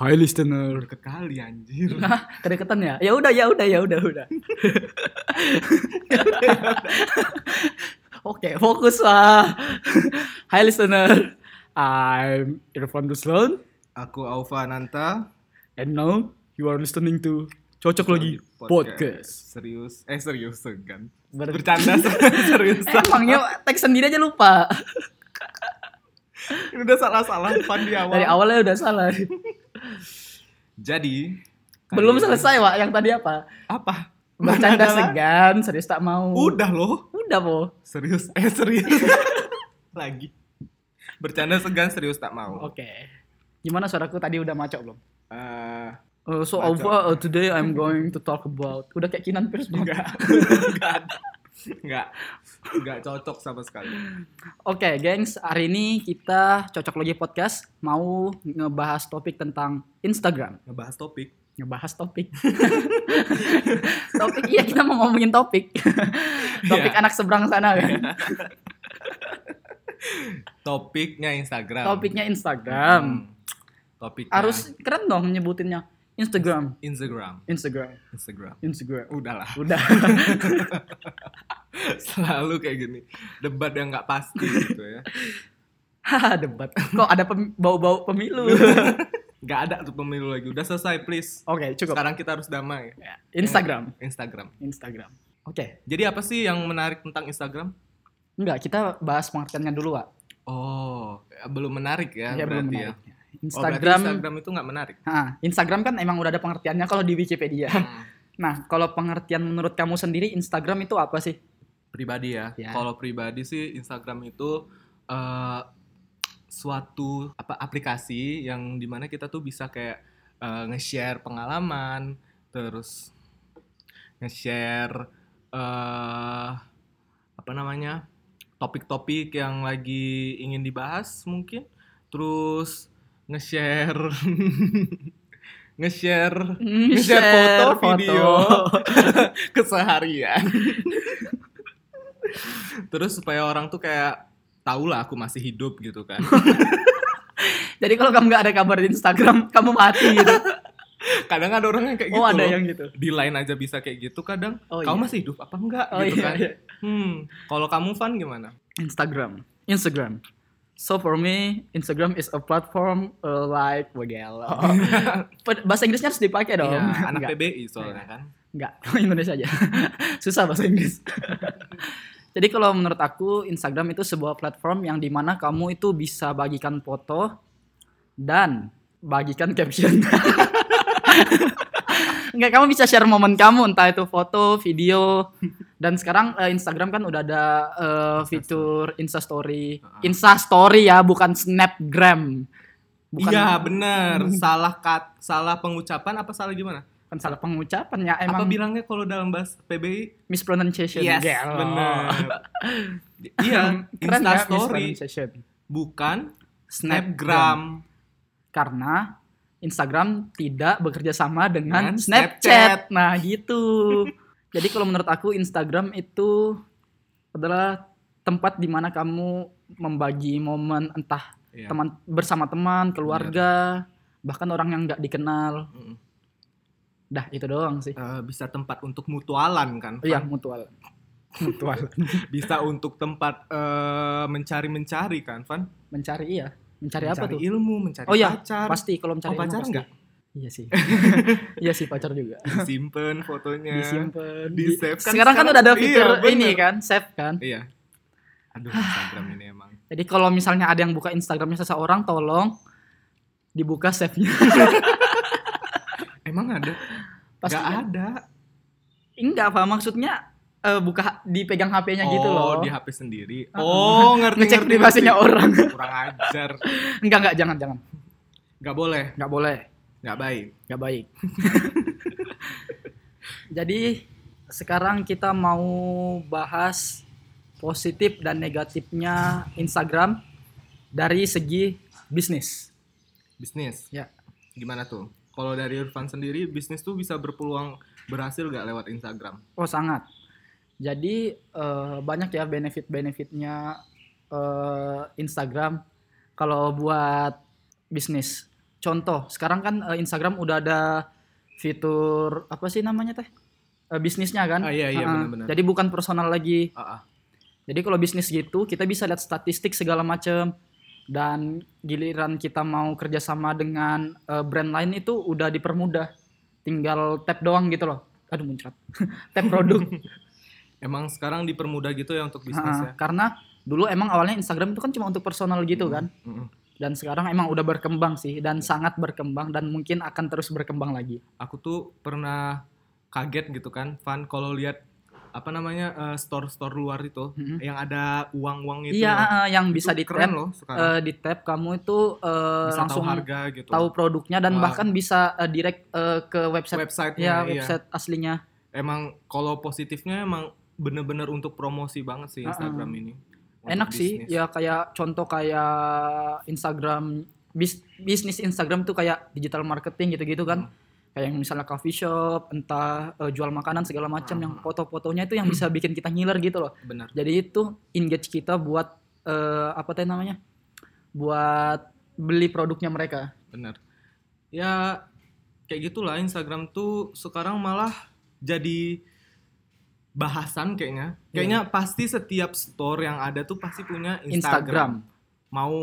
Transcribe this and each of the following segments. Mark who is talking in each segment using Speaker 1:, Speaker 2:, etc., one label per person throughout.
Speaker 1: Hi listener.
Speaker 2: Deket kali anjir.
Speaker 3: Hah? Kedekatan ya? Ya udah, ya udah, ya udah, udah. Oke, fokus lah. Hai listener.
Speaker 1: I'm Irfan Ruslan
Speaker 2: Aku Aufa Ananta.
Speaker 1: and now you are listening to Cocok Lagi Podcast.
Speaker 2: Serius. Eh serius kan.
Speaker 1: Ber-
Speaker 2: Bercanda serius.
Speaker 3: Emangnya teks sendiri aja lupa.
Speaker 2: Ini udah salah-salah Fan di awal.
Speaker 3: Dari awalnya udah salah.
Speaker 2: Jadi kali
Speaker 3: Belum
Speaker 2: ini-
Speaker 3: selesai, Wak. Yang tadi apa?
Speaker 2: Apa?
Speaker 3: Bercanda
Speaker 2: Mana ada-
Speaker 3: segan, serius tak mau.
Speaker 2: Udah loh.
Speaker 3: Udah, Po.
Speaker 2: Serius. Eh serius. Lagi. Bercanda segan serius tak mau.
Speaker 3: Oke. Gimana suaraku tadi udah macok belum?
Speaker 2: Eh,
Speaker 3: Uh, so
Speaker 2: Macok.
Speaker 3: Alfa, uh, today I'm going to talk about udah kayak Kinan Pierce banget.
Speaker 2: enggak. enggak. ada. Enggak. Enggak cocok sama sekali.
Speaker 3: Oke, gengs, hari ini kita cocok lagi podcast mau ngebahas topik tentang Instagram.
Speaker 2: Ngebahas topik.
Speaker 3: Ngebahas topik. topik iya kita mau ngomongin topik. topik
Speaker 2: Iya.
Speaker 3: anak seberang sana kan.
Speaker 2: Topiknya Instagram.
Speaker 3: Topiknya Instagram.
Speaker 2: Hmm. Iya. Topiknya
Speaker 3: Harus keren dong nyebutinnya. Instagram,
Speaker 2: Instagram.
Speaker 3: Instagram,
Speaker 2: Instagram.
Speaker 3: Instagram.
Speaker 2: Udahlah,
Speaker 3: Udah.
Speaker 2: selalu kayak gini. Debat yang nggak pasti gitu ya.
Speaker 3: Haha, debat. Kok ada pem- bau-bau pemilu.
Speaker 2: Nggak ada tuh pemilu lagi. Udah selesai, please.
Speaker 3: Oke, cukup.
Speaker 2: Sekarang kita harus damai.
Speaker 3: Instagram,
Speaker 2: Instagram.
Speaker 3: Instagram. Oke.
Speaker 2: Jadi apa sih yang menarik tentang Instagram?
Speaker 3: Enggak, kita bahas pengertiannya dulu, Wak.
Speaker 2: Oh, belum menarik ya,
Speaker 3: Ya, belum
Speaker 2: berarti ya.
Speaker 3: menarik.
Speaker 2: Oh, berarti
Speaker 3: Instagram,
Speaker 2: Instagram itu nggak menarik.
Speaker 3: Ah, Instagram kan emang udah ada pengertiannya kalau di Wikipedia.
Speaker 2: Hmm,
Speaker 3: Nah, kalau pengertian menurut kamu sendiri Instagram itu apa sih?
Speaker 2: pribadi ya.
Speaker 3: Ya.
Speaker 2: Kalau pribadi sih Instagram itu eh, suatu apa aplikasi yang dimana kita tuh bisa kayak eh, nge-share pengalaman, terus nge-share eh apa namanya topik-topik yang lagi ingin dibahas mungkin, terus nge-share nge-share nge-share foto, video keseharian. Terus supaya orang tuh kayak tahu lah aku masih hidup gitu kan.
Speaker 3: Jadi kalau kamu nggak ada kabar di Instagram, kamu mati gitu.
Speaker 2: Kadang ada orang yang kayak gitu.
Speaker 3: oh, ada
Speaker 2: loh.
Speaker 3: yang gitu.
Speaker 2: di line aja bisa kayak gitu kadang.
Speaker 3: Oh, iya.
Speaker 2: kamu masih hidup apa enggak
Speaker 3: Oh
Speaker 2: gitu
Speaker 3: iya,
Speaker 2: kan.
Speaker 3: iya.
Speaker 2: Hmm, kalau kamu fan gimana?
Speaker 3: Instagram. Instagram. So for me, Instagram is a platform uh, like Wagel. bahasa Inggrisnya harus dipakai dong.
Speaker 2: Iya, anak
Speaker 3: Nggak.
Speaker 2: PBI soalnya kan.
Speaker 3: Enggak, Indonesia aja. Susah bahasa Inggris. Jadi kalau menurut aku Instagram itu sebuah platform yang dimana kamu itu bisa bagikan foto dan bagikan caption. Enggak, kamu bisa share momen kamu entah itu foto, video. Dan sekarang eh, Instagram kan udah ada eh, fitur Insta Story.
Speaker 2: Ah.
Speaker 3: Insta Story ya, bukan Snapgram. Bukan,
Speaker 2: Iya, bener. salah kat, salah pengucapan apa salah gimana?
Speaker 3: bukan salah pengucapan ya,
Speaker 2: apa
Speaker 3: emang
Speaker 2: bilangnya kalau dalam bahasa PBI?
Speaker 3: mispronunciation. Gelo.
Speaker 2: bener. iya,
Speaker 3: Keren
Speaker 2: Insta
Speaker 3: ya,
Speaker 2: story
Speaker 3: mispronunciation.
Speaker 2: bukan
Speaker 3: Snapgram.
Speaker 2: Snapgram.
Speaker 3: Karena Instagram tidak bekerja sama dengan
Speaker 2: Dengan
Speaker 3: Snapchat. Nah, gitu. Jadi kalau menurut aku Instagram itu adalah tempat di mana kamu membagi momen entah
Speaker 2: Iya.
Speaker 3: teman bersama teman, keluarga, bahkan orang yang nggak dikenal.
Speaker 2: Mm-mm.
Speaker 3: Dah, itu doang sih.
Speaker 2: Eh, bisa tempat untuk mutualan kan? Fan?
Speaker 3: Iya, mutual. Mutual.
Speaker 2: Bisa untuk tempat eh, mencari-mencari kan, Van?
Speaker 3: mencari iya. Mencari, apa
Speaker 2: Mencari
Speaker 3: tuh?
Speaker 2: ilmu, mencari
Speaker 3: Oh iya,
Speaker 2: pacar.
Speaker 3: Pasti kalau mencari
Speaker 2: Oh,
Speaker 3: ilmu
Speaker 2: pacar
Speaker 3: pasti.
Speaker 2: nggak?
Speaker 3: Iya sih. iya sih pacar juga.
Speaker 2: Disimpen fotonya.
Speaker 3: disimpan
Speaker 2: Iya. Di save kan
Speaker 3: sekarang kan
Speaker 2: sekarang.
Speaker 3: udah ada
Speaker 2: Iya,
Speaker 3: fitur ini
Speaker 2: bener.
Speaker 3: kan save kan
Speaker 2: Iya. Aduh, Instagram ini emang.
Speaker 3: jadi kalau misalnya ada yang buka instagramnya seseorang tolong dibuka save nya
Speaker 2: Emang ada?
Speaker 3: pasti
Speaker 2: Nggak
Speaker 3: kan?
Speaker 2: ada.
Speaker 3: enggak apa maksudnya eh, buka dipegang hp-nya gitu
Speaker 2: oh,
Speaker 3: loh
Speaker 2: di HP sendiri.
Speaker 3: Uh-uh.
Speaker 2: Oh, ngerti
Speaker 3: Ngecek
Speaker 2: ngerti,
Speaker 3: privasinya
Speaker 2: ngerti.
Speaker 3: orang.
Speaker 2: Kurang ajar.
Speaker 3: enggak enggak jangan jangan
Speaker 2: Gak boleh,
Speaker 3: enggak boleh
Speaker 2: gak baik.
Speaker 3: enggak baik jadi sekarang kita mau bahas positif dan negatifnya Instagram dari segi bisnis.
Speaker 2: Bisnis.
Speaker 3: Ya.
Speaker 2: Gimana tuh? Kalau dari Irfan sendiri, bisnis tuh bisa berpeluang berhasil gak lewat Instagram?
Speaker 3: Oh sangat. Jadi eh, banyak ya benefit-benefitnya eh, Instagram kalau buat bisnis. contoh sekarang kan eh, Instagram udah ada fitur apa sih namanya teh Eh, bisnisnya kan
Speaker 2: Ah, iya,
Speaker 3: Heeh.
Speaker 2: iya, benar-benar.
Speaker 3: jadi bukan personal lagi
Speaker 2: Ah, ah.
Speaker 3: jadi kalau bisnis gitu kita bisa lihat statistik segala macam dan giliran kita mau kerjasama dengan eh, brand lain itu udah dipermudah. Tinggal tap doang gitu loh. Aduh muncrat. tap produk.
Speaker 2: Emang sekarang dipermudah gitu ya Hmm.
Speaker 3: Ha,
Speaker 2: untuk bisnisnya.
Speaker 3: karena dulu emang awalnya Instagram itu kan cuma untuk personal gitu kan.
Speaker 2: Mm-mm.
Speaker 3: Dan sekarang emang udah berkembang sih dan sangat berkembang dan mungkin akan terus berkembang lagi.
Speaker 2: Aku tuh pernah kaget gitu kan, Van kalau lihat apa namanya eh, store-store luar itu
Speaker 3: Mm-mm.
Speaker 2: yang ada uang-uang
Speaker 3: Hmm.
Speaker 2: itu.
Speaker 3: Iya,
Speaker 2: loh.
Speaker 3: eh, yang
Speaker 2: Itu
Speaker 3: bisa di tap
Speaker 2: keren loh sekarang.
Speaker 3: eh, di tap kamu itu eh,
Speaker 2: bisa
Speaker 3: langsung
Speaker 2: tahu harga gitu.
Speaker 3: tahu produknya dan
Speaker 2: Wah. iya.
Speaker 3: bahkan bisa eh, direct eh, ke website
Speaker 2: website
Speaker 3: ya website aslinya.
Speaker 2: Emang kalau positifnya emang bener-bener untuk promosi banget sih
Speaker 3: Ah,
Speaker 2: Instagram ini. Untuk
Speaker 3: enak sih
Speaker 2: bisnis.
Speaker 3: ya kayak contoh kayak Instagram bis- bisnis Instagram tuh kayak digital marketing gitu-gitu kan
Speaker 2: Hmm.
Speaker 3: kayak yang misalnya coffee shop entah eh, jual makanan segala macam yang
Speaker 2: Hmm.
Speaker 3: foto-fotonya itu yang bisa bikin kita ngiler gitu loh
Speaker 2: Bener.
Speaker 3: jadi itu engage kita buat eh, apa teh namanya buat beli produknya mereka
Speaker 2: Bener. Ya kayak gitulah Instagram tuh sekarang malah jadi bahasan kayaknya.
Speaker 3: Iya.
Speaker 2: Kayaknya pasti setiap store yang ada tuh pasti punya Instagram.
Speaker 3: Instagram,
Speaker 2: Mau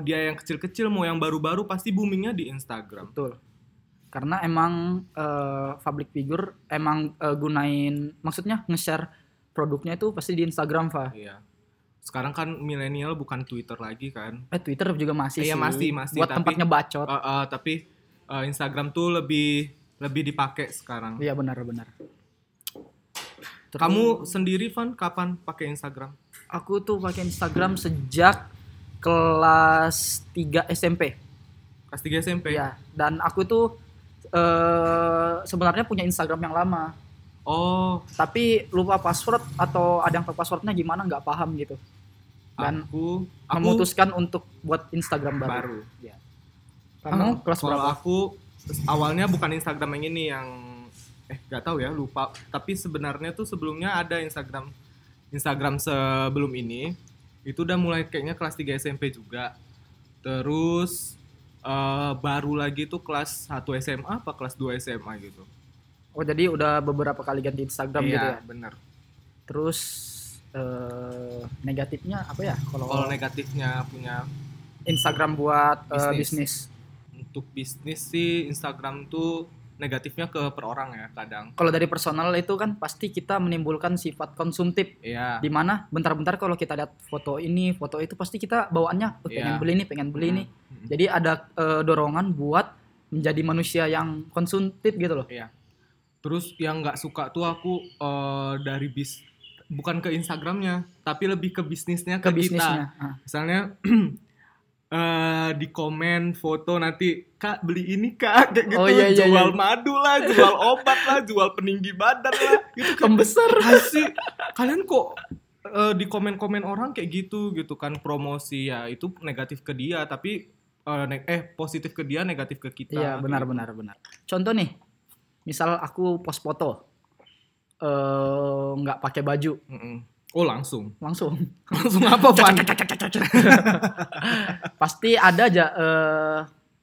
Speaker 2: dia yang kecil-kecil, mau yang baru-baru pasti boomingnya di Instagram.
Speaker 3: betul karena emang eh, public figure emang eh, gunain maksudnya nge-share produknya itu pasti di Instagram Fa
Speaker 2: Iya. Sekarang kan milenial bukan Twitter lagi kan.
Speaker 3: Eh Twitter juga masih
Speaker 2: Iya,
Speaker 3: sih.
Speaker 2: masih, masih,
Speaker 3: Buat
Speaker 2: tapi-
Speaker 3: tempatnya bacot.
Speaker 2: Eh, eh, tapi eh, Instagram tuh lebih lebih dipakai sekarang.
Speaker 3: Iya benar benar. Terus
Speaker 2: Kamu sendiri Van kapan pakai Instagram?
Speaker 3: aku tuh pakai Instagram sejak kelas 3 SMP.
Speaker 2: Kelas 3 SMP.
Speaker 3: Iya, dan aku tuh eh sebenarnya punya Instagram yang lama,
Speaker 2: Oh,
Speaker 3: tapi lupa password atau ada yang tahu passwordnya gimana nggak paham gitu. Dan
Speaker 2: aku aku
Speaker 3: memutuskan untuk buat Instagram baru.
Speaker 2: baru. iya.
Speaker 3: Kamu kelas
Speaker 2: Kalau
Speaker 3: berapa?
Speaker 2: aku awalnya bukan Instagram yang ini yang eh nggak tahu ya lupa. Tapi sebenarnya tuh sebelumnya ada Instagram Instagram sebelum ini itu udah mulai kayaknya kelas 3 SMP juga. Terus eh, baru lagi tuh kelas 1 SMA apa kelas 2 SMA gitu.
Speaker 3: Oh, jadi udah beberapa kali ganti Instagram gitu ya.
Speaker 2: Iya, bener.
Speaker 3: Terus eh negatifnya apa ya
Speaker 2: Kalau negatifnya punya
Speaker 3: Instagram buat eh, bisnis.
Speaker 2: Bisnis. untuk bisnis sih Instagram tuh negatifnya ke per orang ya kadang.
Speaker 3: Kalau dari personal itu kan pasti kita menimbulkan sifat konsumtif
Speaker 2: Iya.
Speaker 3: di mana bentar-bentar kalau kita lihat foto ini, foto itu pasti kita bawaannya "Oh, pengen
Speaker 2: Iya.
Speaker 3: beli ini, pengen beli ini.
Speaker 2: Mm-mm.
Speaker 3: Jadi ada eh, dorongan buat menjadi manusia yang konsumtif gitu loh.
Speaker 2: Terus yang nggak suka tuh aku eh, dari bis bukan ke Instagramnya, tapi lebih ke bisnisnya
Speaker 3: Ke
Speaker 2: ke,
Speaker 3: bisnisnya. Ah,
Speaker 2: kita. Misalnya eh, di komen foto nanti kak beli ini kak kayak gitu
Speaker 3: Oh, iya, iya,
Speaker 2: jual
Speaker 3: iya.
Speaker 2: madu lah, jual obat lah, jual peninggi badan lah. Itu kayak
Speaker 3: Pembesar.
Speaker 2: "Apaan sih? Kalian kok eh, di komen-komen orang kayak gitu gitu kan promosi ya itu negatif ke dia tapi eh, ne- eh positif ke dia negatif ke kita.
Speaker 3: Iya, benar benar benar. Contoh nih, misal aku post foto eh, nggak pakai baju
Speaker 2: Mm-mm. Oh langsung
Speaker 3: langsung
Speaker 2: langsung apa Van?
Speaker 3: pasti ada aja eh,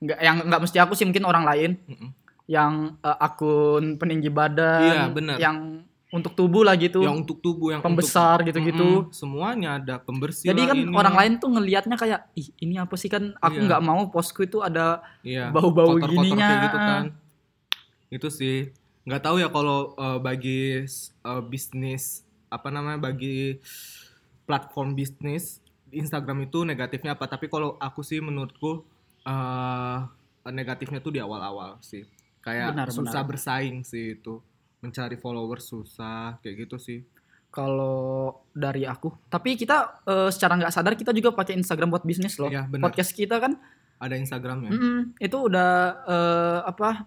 Speaker 3: nggak yang nggak mesti aku sih mungkin orang lain
Speaker 2: Mm-mm.
Speaker 3: yang eh, akun peninggi badan,
Speaker 2: Iya, benar.
Speaker 3: yang untuk tubuh lah gitu,
Speaker 2: yang untuk tubuh yang
Speaker 3: pembesar
Speaker 2: untuk-
Speaker 3: gitu-gitu.
Speaker 2: Mm-mm, semuanya ada pembersih
Speaker 3: Jadi
Speaker 2: lah
Speaker 3: kan
Speaker 2: ini.
Speaker 3: orang lain tuh ngelihatnya kayak ih ini apa sih kan aku
Speaker 2: Iya.
Speaker 3: nggak mau posku itu ada
Speaker 2: Iya,
Speaker 3: bau-bau
Speaker 2: kotor-kotor kayak
Speaker 3: gininya.
Speaker 2: gitu kan itu sih nggak tahu ya kalau eh, bagi eh, bisnis apa namanya bagi platform bisnis Instagram itu negatifnya apa tapi kalau aku sih menurutku eh negatifnya tuh di awal-awal sih kayak
Speaker 3: Benar,
Speaker 2: susah
Speaker 3: benar.
Speaker 2: bersaing sih itu mencari followers susah kayak gitu sih
Speaker 3: kalau dari aku. Tapi kita eh, secara nggak sadar kita juga pakai Instagram buat bisnis loh.
Speaker 2: Iya, benar. Iya.
Speaker 3: Podcast Hmm. kita kan
Speaker 2: ada ya? Instagramnya
Speaker 3: mm-mm, itu udah eh, apa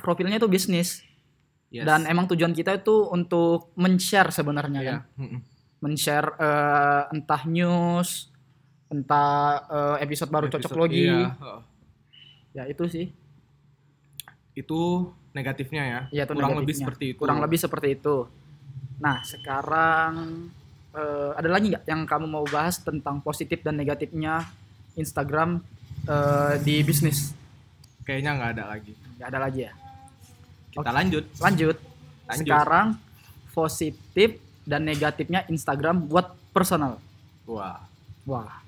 Speaker 3: profilnya itu bisnis
Speaker 2: Yes.
Speaker 3: dan emang tujuan kita itu untuk men-share sebenarnya kan.
Speaker 2: Iya. Mm-mm.
Speaker 3: men-share eh, entah news, entah eh, episode baru cocok
Speaker 2: Episode-
Speaker 3: logi.
Speaker 2: iya, heeh.
Speaker 3: Ya itu sih.
Speaker 2: itu negatifnya ya,
Speaker 3: Iya, itu
Speaker 2: kurang lebih
Speaker 3: negatifnya.
Speaker 2: seperti itu
Speaker 3: Kurang lebih seperti itu. Nah, sekarang eh, ada lagi nggak yang kamu mau bahas tentang positif dan negatifnya Instagram eh, di bisnis?
Speaker 2: kayaknya nggak ada lagi.
Speaker 3: nggak ada lagi ya
Speaker 2: Kita
Speaker 3: Oke.
Speaker 2: lanjut.
Speaker 3: lanjut.
Speaker 2: Lanjut.
Speaker 3: Sekarang positif dan negatifnya Instagram buat personal.
Speaker 2: Wah.
Speaker 3: Wah.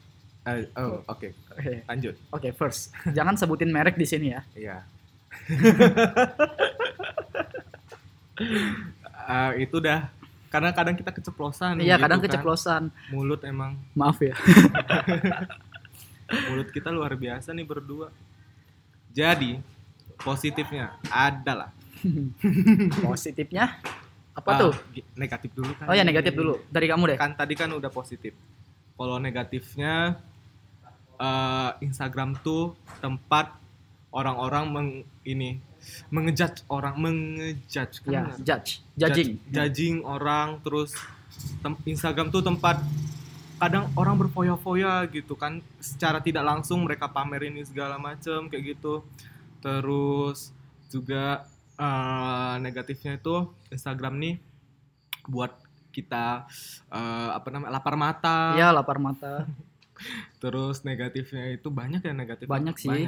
Speaker 2: Eh, oh, oke.
Speaker 3: Oke,
Speaker 2: Lanjut.
Speaker 3: Oke, first. Jangan sebutin merek di sini ya.
Speaker 2: Iya. Eh, itu dah karena kadang kita keceplosan.
Speaker 3: Iya,
Speaker 2: gitu
Speaker 3: kadang
Speaker 2: kan.
Speaker 3: keceplosan.
Speaker 2: Mulut emang
Speaker 3: Maaf ya.
Speaker 2: mulut kita luar biasa nih berdua. Jadi positifnya adalah
Speaker 3: Positifnya apa
Speaker 2: Ah,
Speaker 3: tuh?
Speaker 2: gi- negatif dulu kan.
Speaker 3: Oh ya negatif dulu dari kamu deh.
Speaker 2: Kan tadi kan udah positif. Kalau negatifnya eh, Instagram tuh tempat orang-orang meng, ini mengejudge orang, mengejudge kan
Speaker 3: Ya,
Speaker 2: benar?
Speaker 3: judge, judging.
Speaker 2: Judge- judging orang terus tem- Instagram tuh tempat kadang orang berfoya-foya gitu kan secara tidak langsung mereka pamerin ini segala macem kayak gitu terus juga eh, negatifnya itu Instagram nih buat kita eh, apa namanya lapar mata
Speaker 3: Iya, lapar mata.
Speaker 2: terus negatifnya itu banyak ya negatifnya
Speaker 3: Banyak sih.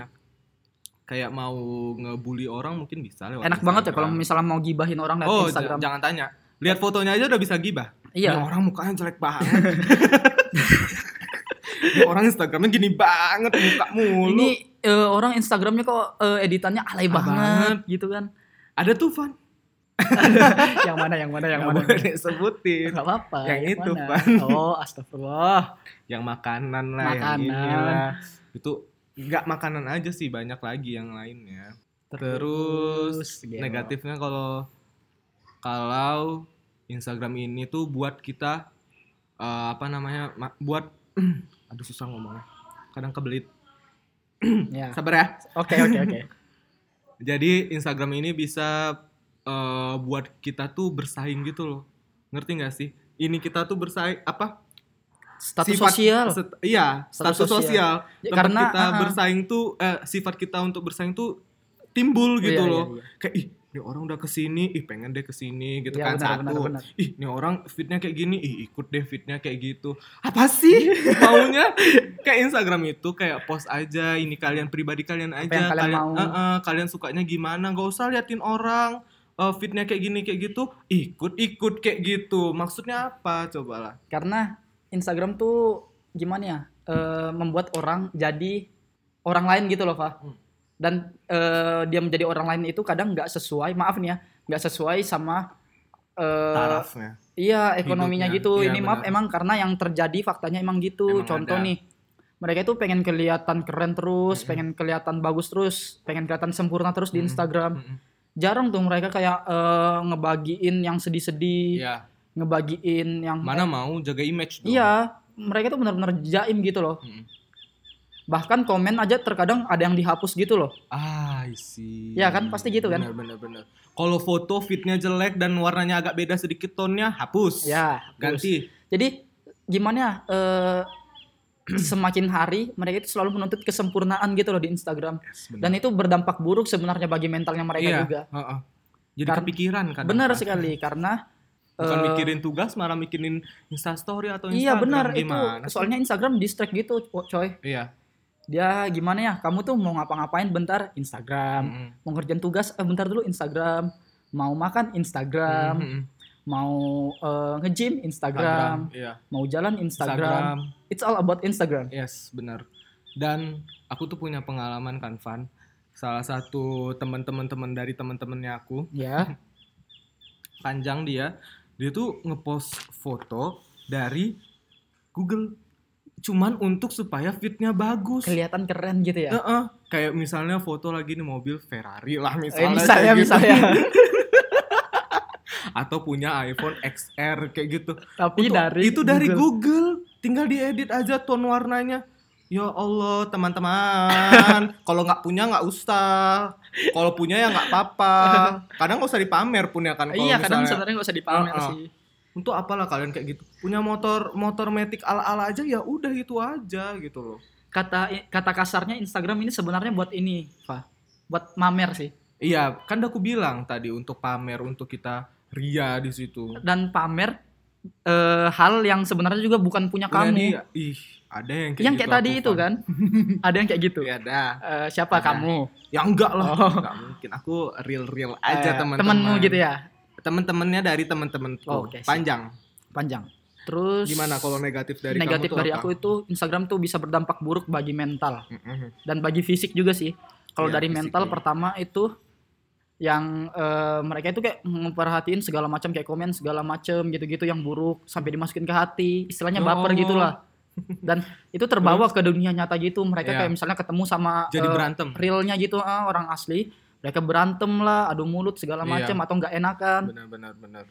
Speaker 2: kayak mau ngebully orang mungkin bisa lewat
Speaker 3: Enak banget ya
Speaker 2: Instagram.
Speaker 3: kalau misalnya mau gibahin orang lewat
Speaker 2: oh
Speaker 3: Instagram.
Speaker 2: j- jangan tanya lihat fotonya aja udah bisa gibah
Speaker 3: Iya.
Speaker 2: Ini orang mukanya jelek banget. Ini orang Instagramnya gini banget muka mulu.
Speaker 3: Ini eh, orang Instagramnya kok eh, editannya alay
Speaker 2: Alay
Speaker 3: banget gitu kan.
Speaker 2: ada tuh Van.
Speaker 3: yang mana yang mana yang
Speaker 2: Yang
Speaker 3: mana?
Speaker 2: boleh sebutin.
Speaker 3: Enggak apa-apa.
Speaker 2: Yang itu,
Speaker 3: mana?
Speaker 2: Pan.
Speaker 3: Oh, astagfirullah.
Speaker 2: Yang makanan lah, yang
Speaker 3: Makanan.
Speaker 2: inilah. Itu nggak makanan aja sih banyak lagi yang lainnya. Terus
Speaker 3: gelo.
Speaker 2: negatifnya kalau kalau Instagram ini tuh buat kita eh, apa namanya ma- buat aduh susah ngomongnya kadang kebelit
Speaker 3: Ya.
Speaker 2: sabar ya
Speaker 3: Oke, oke, oke.
Speaker 2: Jadi Instagram ini bisa eh, buat kita tuh bersaing gitu loh. Ngerti nggak sih? Ini kita tuh bersaing apa?
Speaker 3: Status
Speaker 2: Sifat-
Speaker 3: sosial.
Speaker 2: set- iya,
Speaker 3: Status
Speaker 2: status,
Speaker 3: sosial.
Speaker 2: sosial.
Speaker 3: Ya,
Speaker 2: Tempat
Speaker 3: karena,
Speaker 2: kita
Speaker 3: ah, ah.
Speaker 2: bersaing tuh eh, sifat kita untuk bersaing tuh timbul
Speaker 3: Iya,
Speaker 2: gitu
Speaker 3: iya,
Speaker 2: loh.
Speaker 3: iya.
Speaker 2: Kayak ih, ini orang udah kesini, ih pengen deh kesini gitu
Speaker 3: Iya,
Speaker 2: kan
Speaker 3: benar,
Speaker 2: satu.
Speaker 3: benar, benar.
Speaker 2: Ih, ini orang fitnya kayak gini, ih ikut deh fitnya kayak gitu. Apa sih maunya? kayak Instagram itu kayak post aja ini kalian pribadi kalian aja
Speaker 3: yang kalian mau.
Speaker 2: Eh, eh, kalian sukanya gimana nggak usah liatin orang eh, fitnya kayak gini kayak gitu ikut ikut kayak gitu maksudnya apa cobalah
Speaker 3: Karena Instagram tuh gimana ya? eh, membuat orang jadi orang lain gitu loh, Pak.
Speaker 2: Hmm.
Speaker 3: Dan eh, dia menjadi orang lain itu kadang nggak sesuai, maaf nih ya, nggak sesuai sama eh,
Speaker 2: tarafnya
Speaker 3: Iya, ekonominya
Speaker 2: Hidupnya.
Speaker 3: gitu.
Speaker 2: Iya,
Speaker 3: Ini maaf
Speaker 2: benar.
Speaker 3: emang karena yang terjadi faktanya emang gitu.
Speaker 2: Emang
Speaker 3: Contoh
Speaker 2: ada. Hmm.
Speaker 3: nih. Mereka itu pengen kelihatan keren terus,
Speaker 2: Mm-mm.
Speaker 3: pengen kelihatan bagus terus, pengen kelihatan sempurna terus di
Speaker 2: Mm-mm.
Speaker 3: Instagram. Jarang tuh mereka kayak eh, ngebagiin yang sedih-sedih,
Speaker 2: Iya,
Speaker 3: ngebagiin yang
Speaker 2: mana mau jaga image dong.
Speaker 3: Iya, mereka tuh benar-benar jaim gitu loh.
Speaker 2: Mm-mm.
Speaker 3: Bahkan komen aja terkadang ada yang dihapus gitu loh.
Speaker 2: Ah, I see.
Speaker 3: Iya kan, pasti gitu kan?
Speaker 2: Benar benar benar. Kalau foto fitnya jelek dan warnanya agak beda sedikit tonnya hapus.
Speaker 3: Ya, hapus.
Speaker 2: Ganti.
Speaker 3: Jadi gimana ya? eh, semakin hari mereka itu selalu menuntut kesempurnaan gitu loh di Instagram. dan itu berdampak buruk sebenarnya bagi mentalnya mereka
Speaker 2: Iya,
Speaker 3: juga
Speaker 2: heeh. Jadi
Speaker 3: Karena-
Speaker 2: kepikiran kadang.
Speaker 3: Kan
Speaker 2: kan.
Speaker 3: benar sekali karena
Speaker 2: Bukan
Speaker 3: eh,
Speaker 2: mikirin tugas malah mikirin instastory atau Instagram
Speaker 3: iya benar itu
Speaker 2: gimana? sih?
Speaker 3: soalnya Instagram distract gitu co- coy
Speaker 2: Iya.
Speaker 3: dia gimana ya kamu tuh mau ngapa-ngapain bentar Instagram
Speaker 2: Mm-mm.
Speaker 3: mau ngerjain tugas eh, bentar dulu Instagram mau makan Instagram
Speaker 2: Mm-mm.
Speaker 3: mau eh, nge-gym Instagram
Speaker 2: Iya.
Speaker 3: mau jalan Instagram. it's all about Instagram
Speaker 2: Yes, benar. Dan aku tuh punya pengalaman kan, Van. Salah satu teman-teman teman dari teman-temannya aku,
Speaker 3: ya
Speaker 2: panjang dia, dia tuh ngepost foto dari Google cuman untuk supaya fitnya bagus.
Speaker 3: kelihatan keren gitu ya
Speaker 2: Heeh. Kayak misalnya foto lagi nih mobil Ferrari lah
Speaker 3: eh, misalnya
Speaker 2: misalnya. kayak gitu.
Speaker 3: misalnya
Speaker 2: Atau punya iPhone XR kayak gitu.
Speaker 3: tapi
Speaker 2: Itu-
Speaker 3: Iya, dari
Speaker 2: itu dari Google. tinggal diedit aja tone warnanya ya Allah teman-teman kalau nggak punya nggak usah kalau punya ya nggak apa-apa kadang nggak usah dipamer punya kan kalau
Speaker 3: iya kadang
Speaker 2: misalnya
Speaker 3: sebenarnya nggak usah dipamer
Speaker 2: Uh-uh.
Speaker 3: sih
Speaker 2: untuk apalah kalian kayak gitu punya motor motor metik ala-ala aja ya udah gitu aja gitu loh
Speaker 3: kata kata kasarnya Instagram ini sebenarnya buat ini, Pak. Buat mamer sih.
Speaker 2: iya kan udah aku bilang tadi untuk pamer untuk kita ria di situ
Speaker 3: Dan pamer eh, hal yang sebenarnya juga bukan punya
Speaker 2: Punya
Speaker 3: kamu.
Speaker 2: dia, ih Ada
Speaker 3: yang
Speaker 2: yang Iya, kayak gitu
Speaker 3: kayak
Speaker 2: aku
Speaker 3: tadi itu
Speaker 2: fan.
Speaker 3: kan ada yang kayak gitu
Speaker 2: Ya ada.
Speaker 3: Eh, siapa
Speaker 2: Ada.
Speaker 3: kamu
Speaker 2: Ya enggak lah.
Speaker 3: Oh.
Speaker 2: Enggak mungkin aku real-real aja
Speaker 3: Eh,
Speaker 2: teman-teman.
Speaker 3: temenmu gitu ya
Speaker 2: Temen-temennya dari temen-temenku.
Speaker 3: Oh, oke, sip.
Speaker 2: Panjang.
Speaker 3: panjang terus
Speaker 2: Gimana kalau negatif dari
Speaker 3: negatif
Speaker 2: kamu tuh
Speaker 3: dari
Speaker 2: apa?
Speaker 3: aku itu Instagram tuh bisa berdampak buruk bagi mental
Speaker 2: Mm-mm.
Speaker 3: dan bagi fisik juga sih. Kalau
Speaker 2: Iya,
Speaker 3: dari
Speaker 2: fisik
Speaker 3: mental
Speaker 2: juga.
Speaker 3: pertama itu yang eh, mereka itu kayak memperhatiin segala macam kayak komen segala macam gitu-gitu yang buruk sampai dimasukin ke hati, istilahnya baper
Speaker 2: Oh.
Speaker 3: gitulah. Dan itu terbawa ke dunia nyata gitu. Mereka
Speaker 2: Iya.
Speaker 3: kayak misalnya ketemu sama
Speaker 2: Jadi
Speaker 3: eh,
Speaker 2: berantem.
Speaker 3: realnya gitu ah, orang asli, mereka berantem lah, adu mulut segala
Speaker 2: Iya.
Speaker 3: macam atau nggak enakan.
Speaker 2: Benar-benar benar.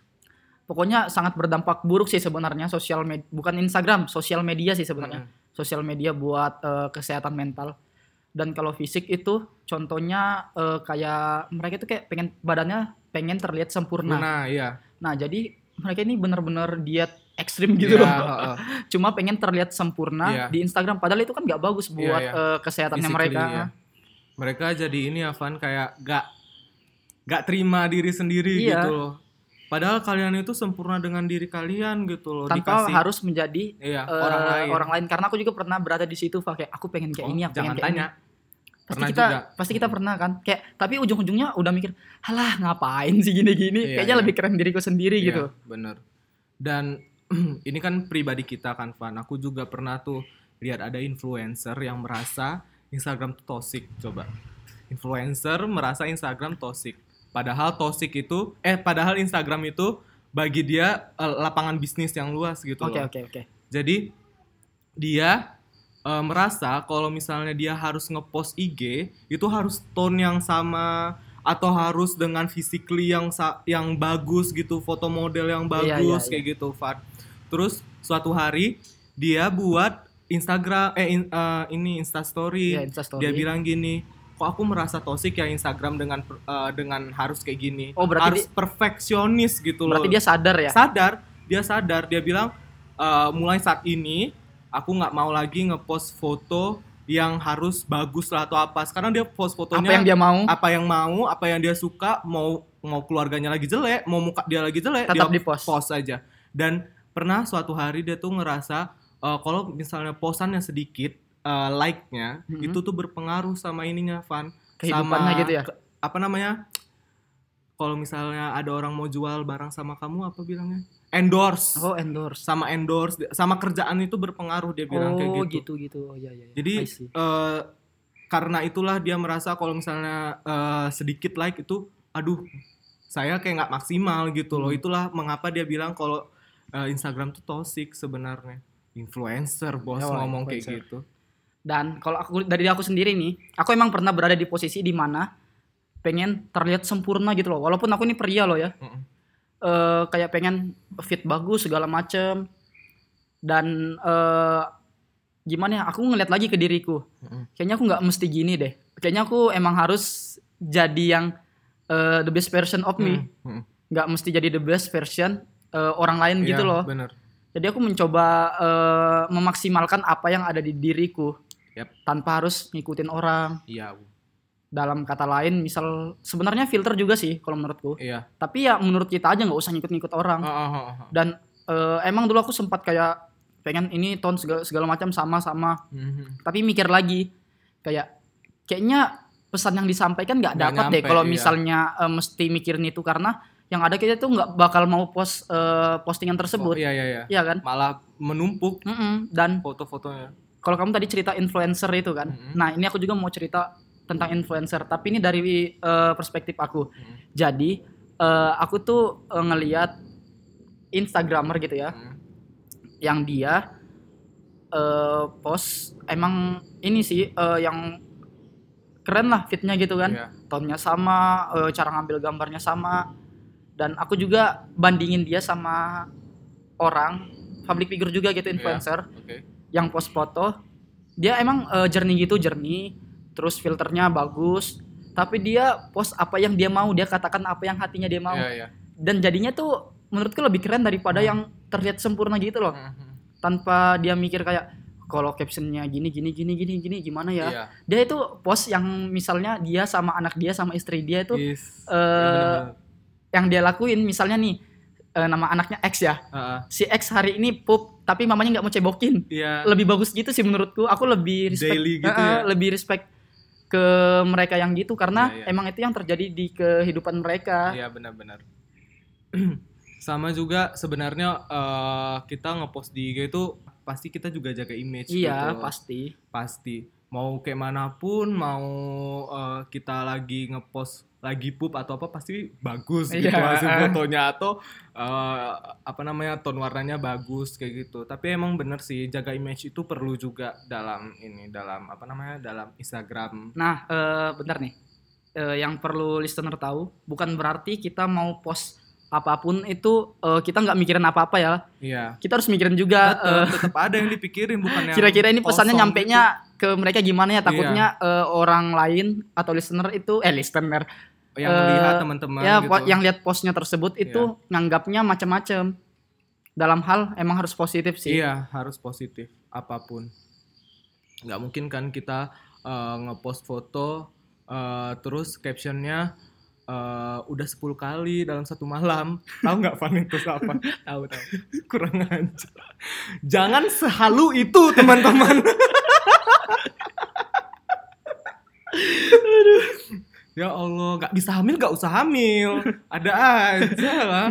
Speaker 3: Pokoknya sangat berdampak buruk sih sebenarnya sosial med bukan Instagram, sosial media sih sebenarnya
Speaker 2: Mm-mm.
Speaker 3: sosial media buat eh, kesehatan mental. Dan kalau fisik itu contohnya eh, kayak mereka itu kayak pengen badannya pengen terlihat sempurna.
Speaker 2: Nah, iya.
Speaker 3: Nah, jadi mereka ini benar-benar diet ekstrim gitu
Speaker 2: Iya,
Speaker 3: loh.
Speaker 2: heeh.
Speaker 3: Cuma pengen terlihat sempurna
Speaker 2: Iya.
Speaker 3: di Instagram padahal itu kan nggak bagus buat
Speaker 2: iya.
Speaker 3: eh, kesehatannya
Speaker 2: Physically,
Speaker 3: mereka.
Speaker 2: ya. Mereka jadi ini ya Van kayak gak gak terima diri sendiri
Speaker 3: Iya.
Speaker 2: gitu loh. Padahal kalian itu sempurna dengan diri kalian gitu loh.
Speaker 3: Tanpa
Speaker 2: Dikasih
Speaker 3: harus menjadi
Speaker 2: iya,
Speaker 3: eh,
Speaker 2: orang lain.
Speaker 3: karena aku juga pernah berada di situ Pak. kayak aku pengen kayak
Speaker 2: Oh,
Speaker 3: ini aku pengen
Speaker 2: jangan
Speaker 3: kayak
Speaker 2: tanya.
Speaker 3: ini. Pasti
Speaker 2: Pernah
Speaker 3: kita
Speaker 2: juga.
Speaker 3: pasti kita
Speaker 2: Mm.
Speaker 3: pernah kan kayak tapi ujung-ujungnya udah mikir halah ngapain sih gini-gini
Speaker 2: Iya,
Speaker 3: kayaknya
Speaker 2: iya.
Speaker 3: lebih keren diriku sendiri
Speaker 2: Iya,
Speaker 3: gitu
Speaker 2: Bener. Dan ini kan pribadi kita kan Van. Aku juga pernah tuh lihat ada influencer yang merasa Instagram tuh toxic. Coba. Influencer merasa Instagram toxic. Padahal toxic itu eh padahal Instagram itu bagi dia eh, lapangan bisnis yang luas gitu
Speaker 3: Oke
Speaker 2: loh.
Speaker 3: oke oke.
Speaker 2: Jadi dia eh, merasa kalau misalnya dia harus ngepost IG itu harus tone yang sama atau harus dengan physically yang sa- yang bagus gitu, foto model yang bagus
Speaker 3: Iya, iya,
Speaker 2: kayak gitu, Fat. Terus suatu hari dia buat Instagram eh in- eh, ini Insta story.
Speaker 3: Iya, Instastory.
Speaker 2: Dia bilang gini, "Kok aku merasa toxic ya Instagram dengan per- eh, dengan harus kayak gini.
Speaker 3: Oh, berarti
Speaker 2: harus perfeksionis gitu loh."
Speaker 3: Berarti dia sadar ya.
Speaker 2: sadar dia sadar dia bilang e, mulai saat ini aku nggak mau lagi ngepost foto yang harus bagus lah atau apa sekarang dia post fotonya
Speaker 3: Apa yang dia mau
Speaker 2: apa yang mau apa yang dia suka mau mau keluarganya lagi jelek mau muka dia lagi jelek
Speaker 3: tetap
Speaker 2: dia
Speaker 3: di post.
Speaker 2: post aja dan pernah suatu hari dia tuh ngerasa e, kalau misalnya posannya sedikit e, like-nya
Speaker 3: Mhm.
Speaker 2: itu tuh berpengaruh sama ininya Van
Speaker 3: Kehidupannya
Speaker 2: sama-
Speaker 3: gitu ya.
Speaker 2: apa namanya kalau misalnya ada orang mau jual barang sama kamu apa bilangnya endorse
Speaker 3: Oh endorse.
Speaker 2: sama endorse sama kerjaan itu berpengaruh dia
Speaker 3: oh
Speaker 2: bilang kayak
Speaker 3: gitu
Speaker 2: gitu,
Speaker 3: gitu. Oh iya iya. iya.
Speaker 2: jadi
Speaker 3: I see.
Speaker 2: eh, karena itulah dia merasa kalau misalnya eh, sedikit like itu aduh saya kayak nggak maksimal gitu loh
Speaker 3: Hmm.
Speaker 2: itulah mengapa dia bilang kalau eh, Instagram tuh toxic sebenarnya influencer bos
Speaker 3: Ya, wah,
Speaker 2: ngomong
Speaker 3: influencer.
Speaker 2: kayak gitu
Speaker 3: dan kalau aku dari aku sendiri nih, aku emang pernah berada di posisi di mana pengen terlihat sempurna gitu loh. Walaupun aku ini pria loh ya.
Speaker 2: Mm-mm.
Speaker 3: Eh, kayak pengen fit bagus segala macem dan eh, gimana ya aku ngeliat lagi ke diriku
Speaker 2: Mm-mm.
Speaker 3: kayaknya aku nggak mesti gini deh kayaknya aku emang harus jadi yang eh, the best version of me
Speaker 2: Mm-mm.
Speaker 3: nggak mesti jadi the best version eh, orang lain
Speaker 2: Iya,
Speaker 3: gitu loh.
Speaker 2: bener
Speaker 3: Jadi aku mencoba eh, memaksimalkan apa yang ada di diriku
Speaker 2: Yap.
Speaker 3: tanpa harus ngikutin orang.
Speaker 2: iya Bu.
Speaker 3: Dalam kata lain, misal sebenarnya filter juga sih kalau menurutku.
Speaker 2: iya
Speaker 3: Tapi ya menurut kita aja nggak usah ngikut-ngikut orang.
Speaker 2: Oh, oh, oh, oh.
Speaker 3: Dan eh, emang dulu aku sempat kayak pengen ini ton segala, segala macam sama-sama.
Speaker 2: Mhm.
Speaker 3: Tapi mikir lagi kayak kayaknya pesan yang disampaikan nggak
Speaker 2: Nggak
Speaker 3: dapat deh
Speaker 2: nyampe,
Speaker 3: kalau
Speaker 2: iya.
Speaker 3: misalnya eh, mesti mikirin itu karena yang ada kita tuh nggak bakal mau post eh, postingan
Speaker 2: Oh,
Speaker 3: tersebut,
Speaker 2: iya iya iya
Speaker 3: ya kan?
Speaker 2: malah menumpuk
Speaker 3: Mm-mm. Dan
Speaker 2: foto-fotonya.
Speaker 3: kalau kamu tadi cerita influencer itu kan,
Speaker 2: Mm-mm.
Speaker 3: nah ini aku juga mau cerita tentang influencer, tapi ini dari eh, perspektif aku.
Speaker 2: Mm-mm.
Speaker 3: Jadi eh, aku tuh eh, ngeliat instagramer gitu ya,
Speaker 2: Mm.
Speaker 3: yang dia eh, post emang ini sih eh, yang keren lah fitnya gitu kan,
Speaker 2: Iya.
Speaker 3: tonnya sama, eh, cara ngambil gambarnya sama, dan aku juga bandingin dia sama orang public figure juga gitu
Speaker 2: Iya.
Speaker 3: influencer
Speaker 2: Oke. Hmm.
Speaker 3: yang post foto dia emang eh, jernih gitu jernih terus filternya bagus tapi dia post apa yang dia mau dia katakan apa yang hatinya dia mau
Speaker 2: Iya, Hmm. iya.
Speaker 3: dan jadinya tuh menurutku lebih keren daripada yang terlihat sempurna gitu loh
Speaker 2: Mhm.
Speaker 3: tanpa dia mikir kayak kalau captionnya gini gini gini gini gini gimana ya
Speaker 2: Iya.
Speaker 3: dia itu post yang misalnya dia
Speaker 2: Iya.
Speaker 3: sama anak dia sama istri dia itu
Speaker 2: Yes.
Speaker 3: eh, yang dia lakuin misalnya nih eh, nama anaknya X ya.
Speaker 2: Heeh.
Speaker 3: Si X hari ini pup, tapi mamanya nggak mau cebokin.
Speaker 2: Iya.
Speaker 3: Lebih bagus gitu sih menurutku. Aku lebih respect,
Speaker 2: Daily gitu
Speaker 3: Heeh,
Speaker 2: ya?
Speaker 3: lebih respect ke mereka yang gitu karena
Speaker 2: Iya, iya.
Speaker 3: emang itu yang terjadi di kehidupan mereka.
Speaker 2: Iya benar-benar. Sama juga sebenarnya eh, kita ngepost di IG itu pasti kita juga jaga image
Speaker 3: Iya,
Speaker 2: gitu.
Speaker 3: pasti.
Speaker 2: pasti. Mau kayak manapun, mau eh, kita lagi ngepost lagi pup atau apa pasti bagus gitu
Speaker 3: Iya.
Speaker 2: hasil fotonya atau eh, apa namanya tone warnanya bagus kayak gitu. Tapi emang bener sih jaga image itu perlu juga dalam ini dalam apa namanya dalam Instagram.
Speaker 3: Nah, eh bentar nih. Eh, yang perlu listener tahu, bukan berarti kita mau post apapun itu eh, kita nggak mikirin apa-apa ya.
Speaker 2: Iya.
Speaker 3: Kita harus mikirin juga eh,
Speaker 2: Tetep tetap ada yang dipikirin bukan yang
Speaker 3: kira-kira ini pesannya
Speaker 2: kosong
Speaker 3: nyampe
Speaker 2: gitu. Iya.
Speaker 3: nya ke mereka gimana ya takutnya eh, orang lain atau listener itu eh listener
Speaker 2: yang
Speaker 3: Eh,
Speaker 2: lihat teman-teman
Speaker 3: ya
Speaker 2: gitu. Iya.
Speaker 3: po- yang lihat postnya tersebut itu nganggapnya macam-macam. Dalam hal emang harus positif sih.
Speaker 2: Iya, harus positif apapun. Nggak mungkin kan kita eh, ngepost foto eh, terus captionnya eh, udah 10 kali dalam satu malam. Tahu nggak Van itu apa?
Speaker 3: Tahu tahu.
Speaker 2: Kurang ajar. Jangan sehalu itu, teman-teman. Ya Allah, nggak bisa hamil nggak usah hamil. Ada aja lah.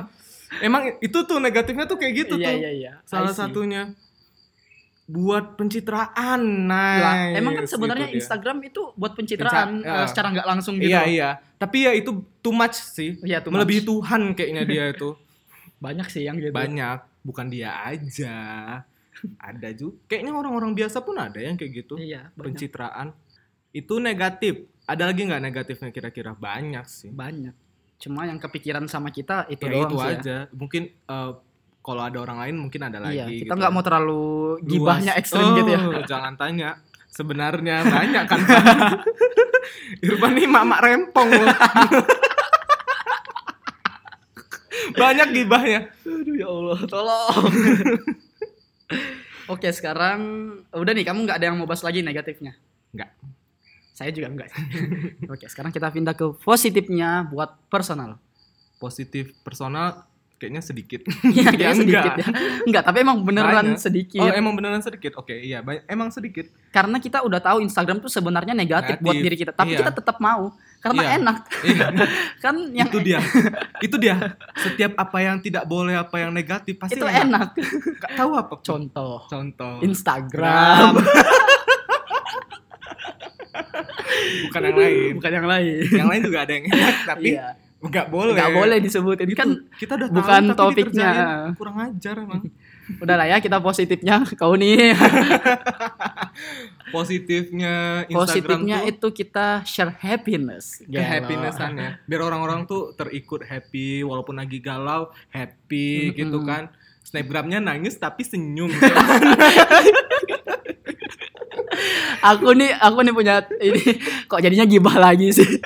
Speaker 2: Emang itu tuh negatifnya tuh kayak gitu
Speaker 3: iya
Speaker 2: tuh.
Speaker 3: iya iya.
Speaker 2: Salah
Speaker 3: I see.
Speaker 2: satunya buat pencitraan. Nah,
Speaker 3: Lah, emang kan sebenarnya Instagram itu buat pencitraan
Speaker 2: Penca-
Speaker 3: eh, secara nggak langsung gitu.
Speaker 2: ya. Iya, iya. Tapi ya itu too much sih.
Speaker 3: Iya, too
Speaker 2: Melebihi
Speaker 3: much.
Speaker 2: Tuhan kayaknya dia itu.
Speaker 3: Banyak sih yang gitu.
Speaker 2: Banyak, bukan dia aja. Ada juga. Kayaknya orang-orang biasa pun ada yang kayak gitu.
Speaker 3: Iya, banyak.
Speaker 2: Pencitraan. Itu negatif. Ada lagi nggak negatifnya kira-kira? Banyak sih.
Speaker 3: banyak cuma yang kepikiran sama kita itu
Speaker 2: Ya,
Speaker 3: doang
Speaker 2: itu
Speaker 3: sih ya.
Speaker 2: aja. Mungkin eh, kalau ada orang lain mungkin ada lagi.
Speaker 3: iya kita
Speaker 2: gitu.
Speaker 3: nggak mau terlalu gibahnya
Speaker 2: Luas.
Speaker 3: ekstrim gitu ya
Speaker 2: Oh, Jangan tanya. Sebenarnya banyak kan. Pak? Irfan nih mamak rempong loh. banyak gibahnya.
Speaker 3: aduh ya allah tolong oke sekarang udah nih kamu nggak ada yang mau bahas lagi negatifnya
Speaker 2: Nggak.
Speaker 3: saya juga enggak oke sekarang kita pindah ke positifnya buat personal
Speaker 2: Positif personal kayaknya sedikit.
Speaker 3: Iya,
Speaker 2: Ya,
Speaker 3: kayaknya sedikit ya enggak tapi emang beneran
Speaker 2: Banyak.
Speaker 3: sedikit
Speaker 2: Oh, emang beneran sedikit. Oke, iya, ba- emang sedikit.
Speaker 3: karena kita udah tahu Instagram tuh sebenarnya negatif, buat
Speaker 2: Negatif,
Speaker 3: diri kita tapi
Speaker 2: iya.
Speaker 3: kita tetap mau karena
Speaker 2: Iya.
Speaker 3: enak
Speaker 2: Iya,
Speaker 3: kan yang
Speaker 2: itu dia. Itu dia. Setiap apa yang tidak boleh, apa yang negatif pasti
Speaker 3: itu enak
Speaker 2: Nggak tahu apa. Nah,
Speaker 3: contoh
Speaker 2: Contoh.
Speaker 3: Instagram
Speaker 2: Bukan yang lain.
Speaker 3: bukan yang lain
Speaker 2: Yang lain juga ada yang enak, tapi
Speaker 3: iya.
Speaker 2: nggak boleh.
Speaker 3: nggak boleh disebutin
Speaker 2: Itu,
Speaker 3: kan
Speaker 2: kita udah
Speaker 3: bukan
Speaker 2: tahu, tapi
Speaker 3: topiknya.
Speaker 2: dikerjain. kurang ajar emang
Speaker 3: udah lah ya kita positifnya kau nih
Speaker 2: positifnya Instagram
Speaker 3: positifnya
Speaker 2: tuh
Speaker 3: itu kita share happiness
Speaker 2: ke
Speaker 3: ah.
Speaker 2: happinessannya
Speaker 3: ya.
Speaker 2: biar orang-orang tuh terikut happy walaupun lagi galau happy
Speaker 3: Mm-mm.
Speaker 2: gitu kan snapgramnya nangis tapi senyum
Speaker 3: aku nih aku nih punya ini kok jadinya gibah lagi sih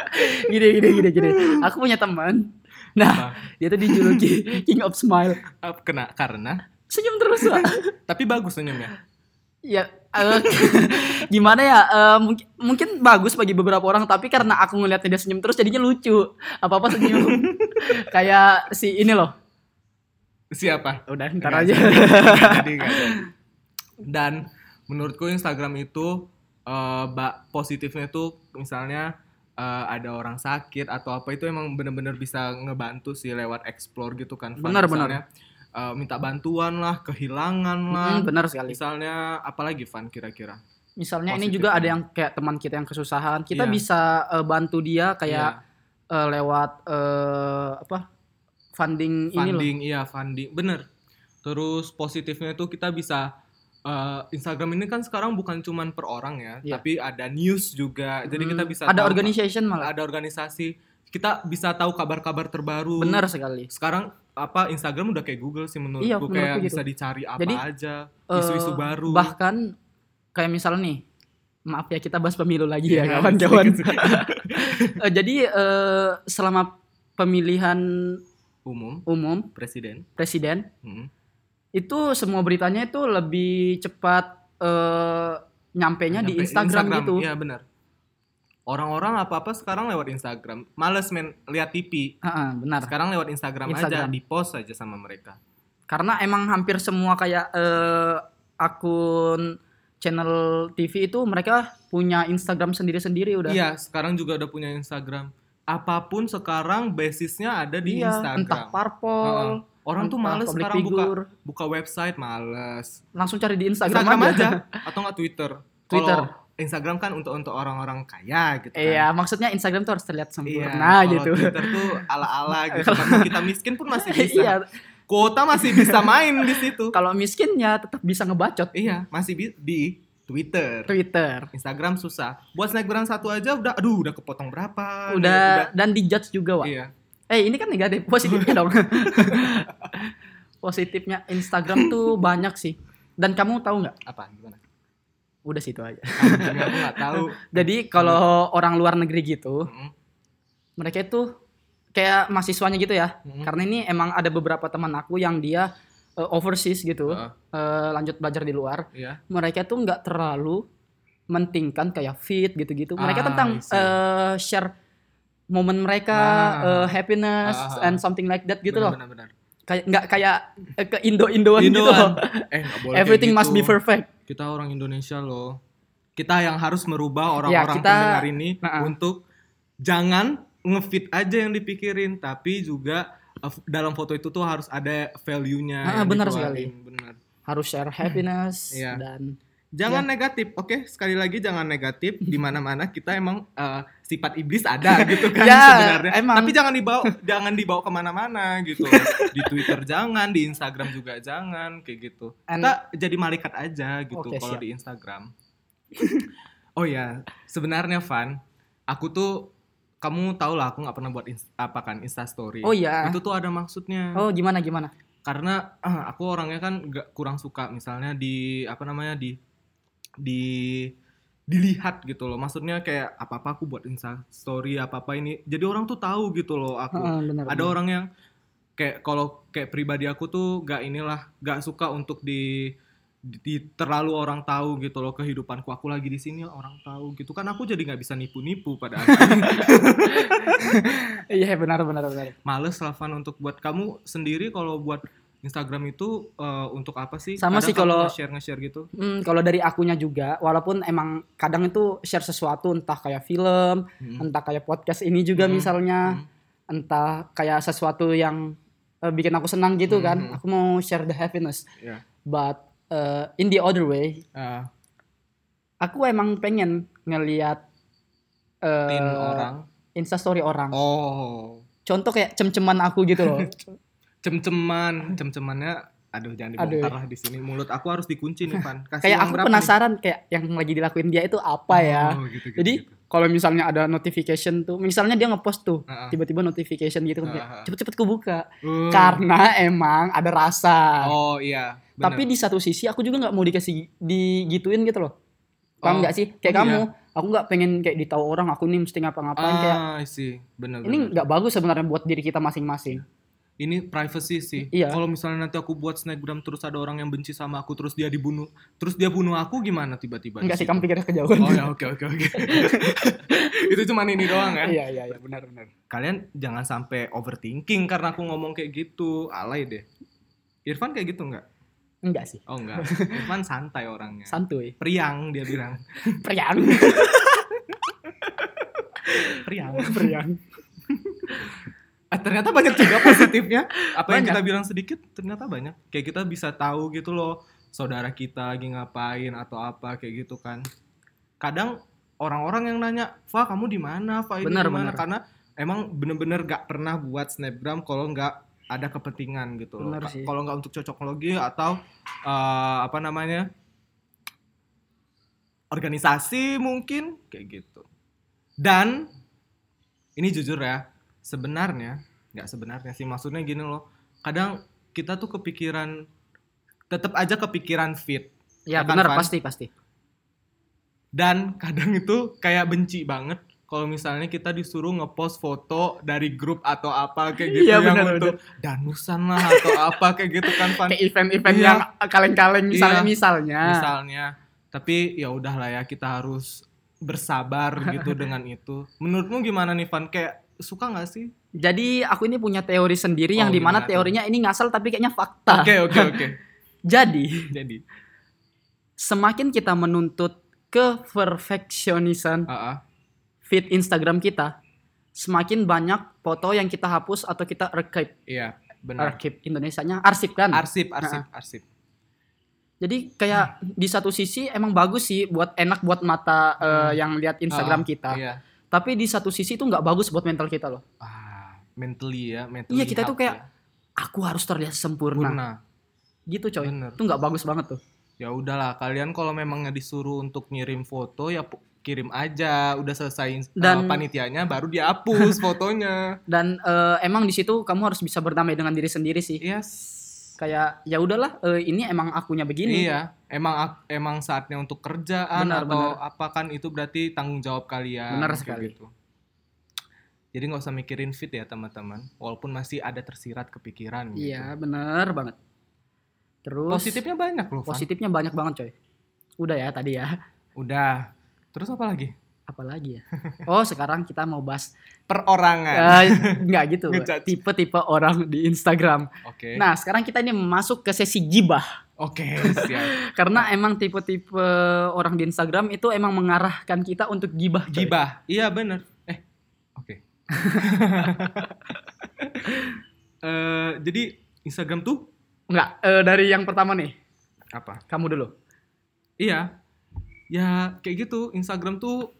Speaker 3: gini gini gini gini aku punya teman nah dia tuh dijuluki king of smile
Speaker 2: Apa? Ah, kena karena
Speaker 3: senyum terus lah
Speaker 2: tapi bagus senyumnya
Speaker 3: ya eh, gimana ya eh, mungkin mungkin bagus bagi beberapa orang tapi karena aku ngeliatnya dia senyum terus jadinya lucu apa apa senyum kayak si ini loh
Speaker 2: siapa
Speaker 3: udah
Speaker 2: Nggak
Speaker 3: ntar aja
Speaker 2: jadi, nggak jadi, nggak jadi. dan menurutku Instagram itu eh, ba- positifnya tuh misalnya eh, ada orang sakit atau apa itu emang bener-bener bisa ngebantu sih lewat explore gitu kan Van.
Speaker 3: Benar,
Speaker 2: Misalnya, eh, minta bantuan lah kehilangan lah
Speaker 3: Hmm, benar sekali.
Speaker 2: misalnya apalagi Van kira-kira
Speaker 3: Misalnya ini
Speaker 2: positif
Speaker 3: juga ada
Speaker 2: banget.
Speaker 3: yang kayak teman kita yang kesusahan, kita
Speaker 2: Iya.
Speaker 3: bisa eh, bantu dia kayak eh, lewat eh, apa funding,
Speaker 2: Iya,
Speaker 3: ini loh.
Speaker 2: funding iya funding bener terus positifnya itu kita bisa eh, Instagram ini kan sekarang bukan cuman per orang ya
Speaker 3: Iya.
Speaker 2: tapi ada news juga jadi kita
Speaker 3: Hmm,
Speaker 2: bisa
Speaker 3: ada
Speaker 2: tahu-
Speaker 3: organization malah.
Speaker 2: ada organisasi kita bisa tahu kabar-kabar terbaru
Speaker 3: Benar sekali.
Speaker 2: sekarang apa Instagram udah kayak Google sih menurutku
Speaker 3: Iya, menurutku
Speaker 2: kayak
Speaker 3: gitu.
Speaker 2: bisa dicari apa
Speaker 3: Jadi,
Speaker 2: aja
Speaker 3: Eh,
Speaker 2: isu-isu baru
Speaker 3: Bahkan kayak misalnya nih, maaf ya kita bahas pemilu lagi ya
Speaker 2: Iya,
Speaker 3: kawan-kawan.
Speaker 2: sedikit,
Speaker 3: Eh, Jadi eh, selama pemilihan
Speaker 2: umum
Speaker 3: umum
Speaker 2: presiden
Speaker 3: presiden
Speaker 2: Mm.
Speaker 3: itu semua beritanya itu lebih cepat eh, nyampenya di
Speaker 2: Sampai
Speaker 3: Instagram, gitu.
Speaker 2: iya benar Orang-orang apa-apa sekarang lewat Instagram. Males men lihat TV.
Speaker 3: Heeh, benar.
Speaker 2: Sekarang lewat Instagram,
Speaker 3: Instagram.
Speaker 2: aja, di post aja sama mereka.
Speaker 3: Karena emang hampir semua kayak eh, akun channel TV itu mereka punya Instagram sendiri-sendiri udah.
Speaker 2: Iya, sekarang juga udah punya Instagram. Apapun sekarang basisnya ada di
Speaker 3: Iya,
Speaker 2: Instagram.
Speaker 3: entah parpol,
Speaker 2: Heeh. Orang tuh
Speaker 3: entah
Speaker 2: males
Speaker 3: public
Speaker 2: sekarang buka
Speaker 3: figure.
Speaker 2: buka website, males.
Speaker 3: langsung cari di Instagram,
Speaker 2: Instagram
Speaker 3: aja.
Speaker 2: aja atau nggak Twitter.
Speaker 3: Twitter.
Speaker 2: Kalau Instagram kan untuk untuk orang-orang kaya gitu kan.
Speaker 3: Iya, maksudnya Instagram tuh harus terlihat
Speaker 2: Iya,
Speaker 3: sempurna
Speaker 2: kalau
Speaker 3: gitu.
Speaker 2: Twitter tuh ala-ala gitu. Kalau kita miskin pun masih bisa.
Speaker 3: iya,
Speaker 2: Kuota masih bisa main di situ.
Speaker 3: kalau miskinnya tetap bisa ngebacot
Speaker 2: Iya, masih bi- di Twitter.
Speaker 3: Twitter.
Speaker 2: Instagram susah. Buat snapgram satu aja udah aduh udah kepotong berapa. nih,
Speaker 3: Udah dan dijudge juga,
Speaker 2: udah-
Speaker 3: Wak.
Speaker 2: Iya.
Speaker 3: Eh, ini kan negatif, positifnya dong. Positifnya Instagram tuh banyak sih. Dan kamu tahu nggak?
Speaker 2: Apa gimana?
Speaker 3: Udah situ aja.
Speaker 2: Anjing, aku nggak tahu. Iya.
Speaker 3: Jadi kalau orang luar negeri gitu,
Speaker 2: Mm-mm.
Speaker 3: mereka itu kayak mahasiswanya gitu ya.
Speaker 2: Mm-mm.
Speaker 3: Karena ini emang ada beberapa teman aku yang dia eh, overseas gitu,
Speaker 2: Heeh.
Speaker 3: eh, lanjut belajar di luar.
Speaker 2: Iya.
Speaker 3: mereka tuh nggak terlalu mentingkan kayak fit gitu-gitu. Mereka
Speaker 2: Ah,
Speaker 3: tentang
Speaker 2: I see.
Speaker 3: eh, share momen mereka,
Speaker 2: Ah.
Speaker 3: eh, happiness
Speaker 2: Ah.
Speaker 3: and something like that gitu loh.
Speaker 2: Benar, benar, benar.
Speaker 3: Kayak nggak kayak eh, ke Indo-Indoan gitu
Speaker 2: Indoan.
Speaker 3: loh.
Speaker 2: Eh, nggak boleh kayak
Speaker 3: Everything must be
Speaker 2: gitu.
Speaker 3: perfect.
Speaker 2: Kita orang Indonesia loh. Kita yang harus merubah
Speaker 3: Ya,
Speaker 2: orang-orang
Speaker 3: kita-
Speaker 2: pendengar ini
Speaker 3: Nah, ah.
Speaker 2: untuk jangan ngefit aja yang dipikirin, tapi juga eh, f- dalam foto itu tuh harus ada value-nya.
Speaker 3: Ah,
Speaker 2: yang
Speaker 3: benar
Speaker 2: dikeluarin.
Speaker 3: sekali.
Speaker 2: Benar.
Speaker 3: Harus share happiness
Speaker 2: Iya.
Speaker 3: dan Ya.
Speaker 2: Jangan negatif, oke? Sekali lagi jangan negatif. Di mana-mana kita emang eh, sifat iblis ada gitu kan
Speaker 3: Ya,
Speaker 2: sebenarnya.
Speaker 3: emang.
Speaker 2: Tapi jangan dibawa, jangan dibawa kemana-mana gitu. Di Twitter jangan, di Instagram juga jangan, kayak gitu.
Speaker 3: And-
Speaker 2: Kita jadi malaikat aja gitu
Speaker 3: Oke,
Speaker 2: kalau
Speaker 3: siap.
Speaker 2: di Instagram. oh ya, sebenarnya Van, aku tuh kamu tau lah aku nggak pernah buat ins- apa kan Insta Story.
Speaker 3: Oh iya.
Speaker 2: Itu tuh ada maksudnya
Speaker 3: Oh, gimana gimana?
Speaker 2: Iya. karena ah, aku orangnya kan nggak kurang suka misalnya di apa namanya di di dilihat gitu loh maksudnya kayak apa apa aku buat insta story apa apa ini jadi orang tuh tahu gitu loh aku
Speaker 3: Heeh, benar.
Speaker 2: ada orang yang kayak kalau kayak pribadi aku tuh gak inilah gak suka untuk di, di- terlalu orang tahu gitu loh kehidupanku aku lagi di sini orang tahu gitu kan aku jadi nggak bisa nipu-nipu pada akhirnya
Speaker 3: Iya, benar benar benar.
Speaker 2: males lah Van, untuk buat kamu sendiri kalau buat Instagram itu eh, untuk apa sih?
Speaker 3: Sama
Speaker 2: Kadang
Speaker 3: sih
Speaker 2: kamu
Speaker 3: kalau-
Speaker 2: nge-share nge-share gitu.
Speaker 3: Hmm, kalau dari akunya juga, walaupun emang kadang itu share sesuatu entah kayak film,
Speaker 2: Mm.
Speaker 3: entah kayak podcast ini juga
Speaker 2: Mm.
Speaker 3: misalnya.
Speaker 2: Mm.
Speaker 3: entah kayak sesuatu yang eh, bikin aku senang gitu kan
Speaker 2: Mhm.
Speaker 3: aku mau share the happiness
Speaker 2: Ya.
Speaker 3: but eh, in the other way
Speaker 2: Eh,
Speaker 3: aku emang pengen ngelihat eh,
Speaker 2: tin orang.
Speaker 3: instastory orang
Speaker 2: Oh,
Speaker 3: contoh kayak cem-ceman aku gitu loh
Speaker 2: cem-ceman, cem-cemannya aduh jangan
Speaker 3: Aduh.
Speaker 2: dibongkar lah di sini. Mulut aku harus dikunci nih, Van. Kasih
Speaker 3: kayak
Speaker 2: uang
Speaker 3: aku
Speaker 2: berapa nih?
Speaker 3: penasaran kayak yang lagi dilakuin dia itu apa ya
Speaker 2: Oh, gitu, gitu,
Speaker 3: jadi
Speaker 2: gitu.
Speaker 3: kalau misalnya ada notification tuh misalnya dia ngepost tuh
Speaker 2: Ah, ah.
Speaker 3: tiba-tiba notification gitu kan kayak,
Speaker 2: Ah, ah.
Speaker 3: cepet-cepet ku buka
Speaker 2: Eh,
Speaker 3: karena emang ada rasa
Speaker 2: Oh, iya. benar.
Speaker 3: Tapi di satu sisi aku juga nggak mau dikasih digituin gitu loh. Paham
Speaker 2: Oh.
Speaker 3: nggak sih? Kayak
Speaker 2: Oh,
Speaker 3: kamu, aku nggak pengen kayak ditahu orang aku nih mesti ngapa-ngapain kayak
Speaker 2: ah, sih, benar
Speaker 3: ini nggak bagus sebenarnya buat diri kita masing-masing.
Speaker 2: Iya, ini privacy sih.
Speaker 3: Iya.
Speaker 2: Kalau misalnya nanti aku buat snapgram terus ada orang yang benci sama aku terus dia dibunuh, terus dia bunuh aku gimana tiba-tiba? di
Speaker 3: Enggak sih
Speaker 2: situ?
Speaker 3: kamu pikirnya kejauhan.
Speaker 2: Oh ya oke oke oke. Itu cuman ini doang ya.
Speaker 3: Iya iya iya benar benar.
Speaker 2: Kalian jangan sampai overthinking karena aku ngomong kayak gitu, alay deh. Irfan kayak gitu nggak?
Speaker 3: Enggak sih.
Speaker 2: Oh enggak. Irfan santai orangnya.
Speaker 3: Santuy.
Speaker 2: Priang dia bilang.
Speaker 3: Periang.
Speaker 2: Priang.
Speaker 3: Periang.
Speaker 2: Ah, ternyata banyak juga positifnya. Apa yang
Speaker 3: Banyak.
Speaker 2: kita bilang sedikit ternyata banyak. Kayak kita bisa tahu gitu loh saudara kita lagi ngapain atau apa kayak gitu kan. Kadang orang-orang yang nanya, "Fa, kamu di mana? Fa, ini
Speaker 3: Benar,
Speaker 2: di
Speaker 3: benar.
Speaker 2: mana?" Karena emang bener-bener gak pernah buat snapgram kalau nggak ada kepentingan gitu loh.
Speaker 3: Benar
Speaker 2: Ka-
Speaker 3: sih.
Speaker 2: Kalau nggak untuk cocok logi atau eh, apa namanya? organisasi mungkin kayak gitu. Dan ini jujur ya, sebenarnya nggak sebenarnya sih maksudnya gini loh. Kadang kita tuh kepikiran tetap aja kepikiran fit
Speaker 3: Ya
Speaker 2: Kan,
Speaker 3: benar
Speaker 2: Van?
Speaker 3: pasti pasti.
Speaker 2: dan kadang itu kayak benci banget kalau misalnya kita disuruh ngepost foto dari grup atau apa kayak gitu
Speaker 3: Iya,
Speaker 2: yang
Speaker 3: benar,
Speaker 2: untuk danusan lah atau apa kayak gitu kan Van.
Speaker 3: Kayak event-event
Speaker 2: Iya.
Speaker 3: yang kaleng-kaleng misalnya
Speaker 2: Iya.
Speaker 3: misalnya.
Speaker 2: misalnya tapi ya udahlah ya kita harus bersabar gitu dengan itu. Menurutmu gimana nih Van? Kayak suka nggak sih?
Speaker 3: Jadi aku ini punya teori sendiri
Speaker 2: Oh,
Speaker 3: yang dimana
Speaker 2: gimana tuh?
Speaker 3: teorinya ini ngasal tapi kayaknya fakta.
Speaker 2: Oke oke oke.
Speaker 3: Jadi
Speaker 2: Jadi,
Speaker 3: semakin kita menuntut ke perfectionisan
Speaker 2: ah, ah.
Speaker 3: feed Instagram kita, semakin banyak foto yang kita hapus atau kita archive,
Speaker 2: iya benar.
Speaker 3: archive Indonesianya arsipkan.
Speaker 2: Arsip arsip arsip.
Speaker 3: Jadi kayak di satu sisi emang bagus sih buat enak buat mata eh,
Speaker 2: Hmm.
Speaker 3: yang lihat Instagram
Speaker 2: Ah,
Speaker 3: kita.
Speaker 2: Iya.
Speaker 3: Tapi di satu sisi itu nggak bagus buat mental kita loh.
Speaker 2: Ah, mentally ya, mentally.
Speaker 3: Iya, kita tuh
Speaker 2: health
Speaker 3: kayak
Speaker 2: ya.
Speaker 3: Aku harus terlihat sempurna.
Speaker 2: Purna.
Speaker 3: Gitu coy.
Speaker 2: Bener.
Speaker 3: Itu nggak bagus banget tuh.
Speaker 2: Ya udahlah, kalian kalau memang disuruh untuk ngirim foto ya pu- kirim aja, udah selesai
Speaker 3: Dan-
Speaker 2: Dan... panitianya baru dihapus fotonya.
Speaker 3: Dan eh, emang di situ kamu harus bisa berdamai dengan diri sendiri sih.
Speaker 2: Yes.
Speaker 3: Kayak ya udahlah eh, ini emang akunya begini.
Speaker 2: Iya, emang ak- emang saatnya untuk kerjaan
Speaker 3: Benar,
Speaker 2: atau apa kan itu berarti tanggung jawab kalian.
Speaker 3: Benar
Speaker 2: kayak
Speaker 3: sekali.
Speaker 2: gitu. Jadi nggak usah mikirin fit ya teman-teman, walaupun masih ada tersirat kepikiran. gitu.
Speaker 3: Iya, bener banget. Terus
Speaker 2: Positifnya banyak loh. Van.
Speaker 3: positifnya banyak banget coy. Udah ya tadi ya.
Speaker 2: Udah. Terus apa lagi?
Speaker 3: Apalagi ya. Oh sekarang kita mau bahas
Speaker 2: Perorangan.
Speaker 3: Eh, nggak gitu
Speaker 2: Ngejudge.
Speaker 3: tipe-tipe orang di Instagram.
Speaker 2: Oke.
Speaker 3: Nah sekarang kita ini masuk ke sesi gibah
Speaker 2: Oke, siap.
Speaker 3: karena
Speaker 2: Nah.
Speaker 3: emang tipe-tipe orang di Instagram itu emang mengarahkan kita untuk gibah. coy.
Speaker 2: Gibah. Iya bener. Eh, oke. Eh, jadi Instagram tuh
Speaker 3: Nggak eh, dari yang pertama nih
Speaker 2: apa?
Speaker 3: kamu dulu.
Speaker 2: Iya. Ya kayak gitu. Instagram tuh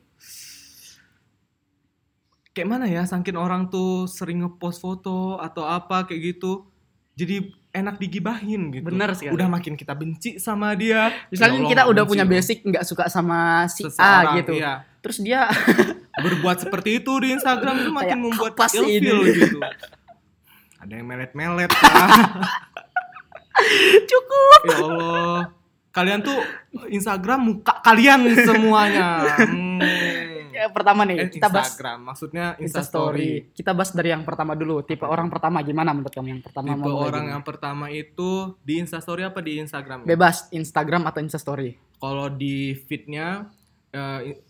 Speaker 2: kayak mana ya? Sangkin orang tuh sering ngepost foto atau apa kayak gitu. Jadi enak digibahin gitu.
Speaker 3: Bener sekali.
Speaker 2: Udah makin kita benci sama dia. Ya
Speaker 3: Misalnya
Speaker 2: Allah,
Speaker 3: kita
Speaker 2: nggak
Speaker 3: udah
Speaker 2: benci
Speaker 3: punya
Speaker 2: loh.
Speaker 3: basic nggak suka sama si
Speaker 2: Seseorang,
Speaker 3: A gitu.
Speaker 2: Iya.
Speaker 3: Terus dia
Speaker 2: berbuat seperti itu di Instagram itu
Speaker 3: Kayak,
Speaker 2: makin membuat
Speaker 3: "Apa sih ini?"
Speaker 2: ilfil gitu. Ada yang melet-melet lah.
Speaker 3: cukup.
Speaker 2: ya Allah. Kalian tuh Instagram muka kalian semuanya. Hmm.
Speaker 3: Ya, pertama
Speaker 2: Eh,
Speaker 3: nih kita bahas
Speaker 2: Instagram maksudnya
Speaker 3: Insta
Speaker 2: Instastory.
Speaker 3: story. Kita bahas dari yang pertama dulu. Tipe orang pertama gimana menurut kamu yang pertama?
Speaker 2: Tipe
Speaker 3: mau mulai
Speaker 2: orang
Speaker 3: gimana?
Speaker 2: yang pertama itu di Instastory apa di Instagram?
Speaker 3: bebas Instagram atau Insta story.
Speaker 2: Kalau di feednya eh, i-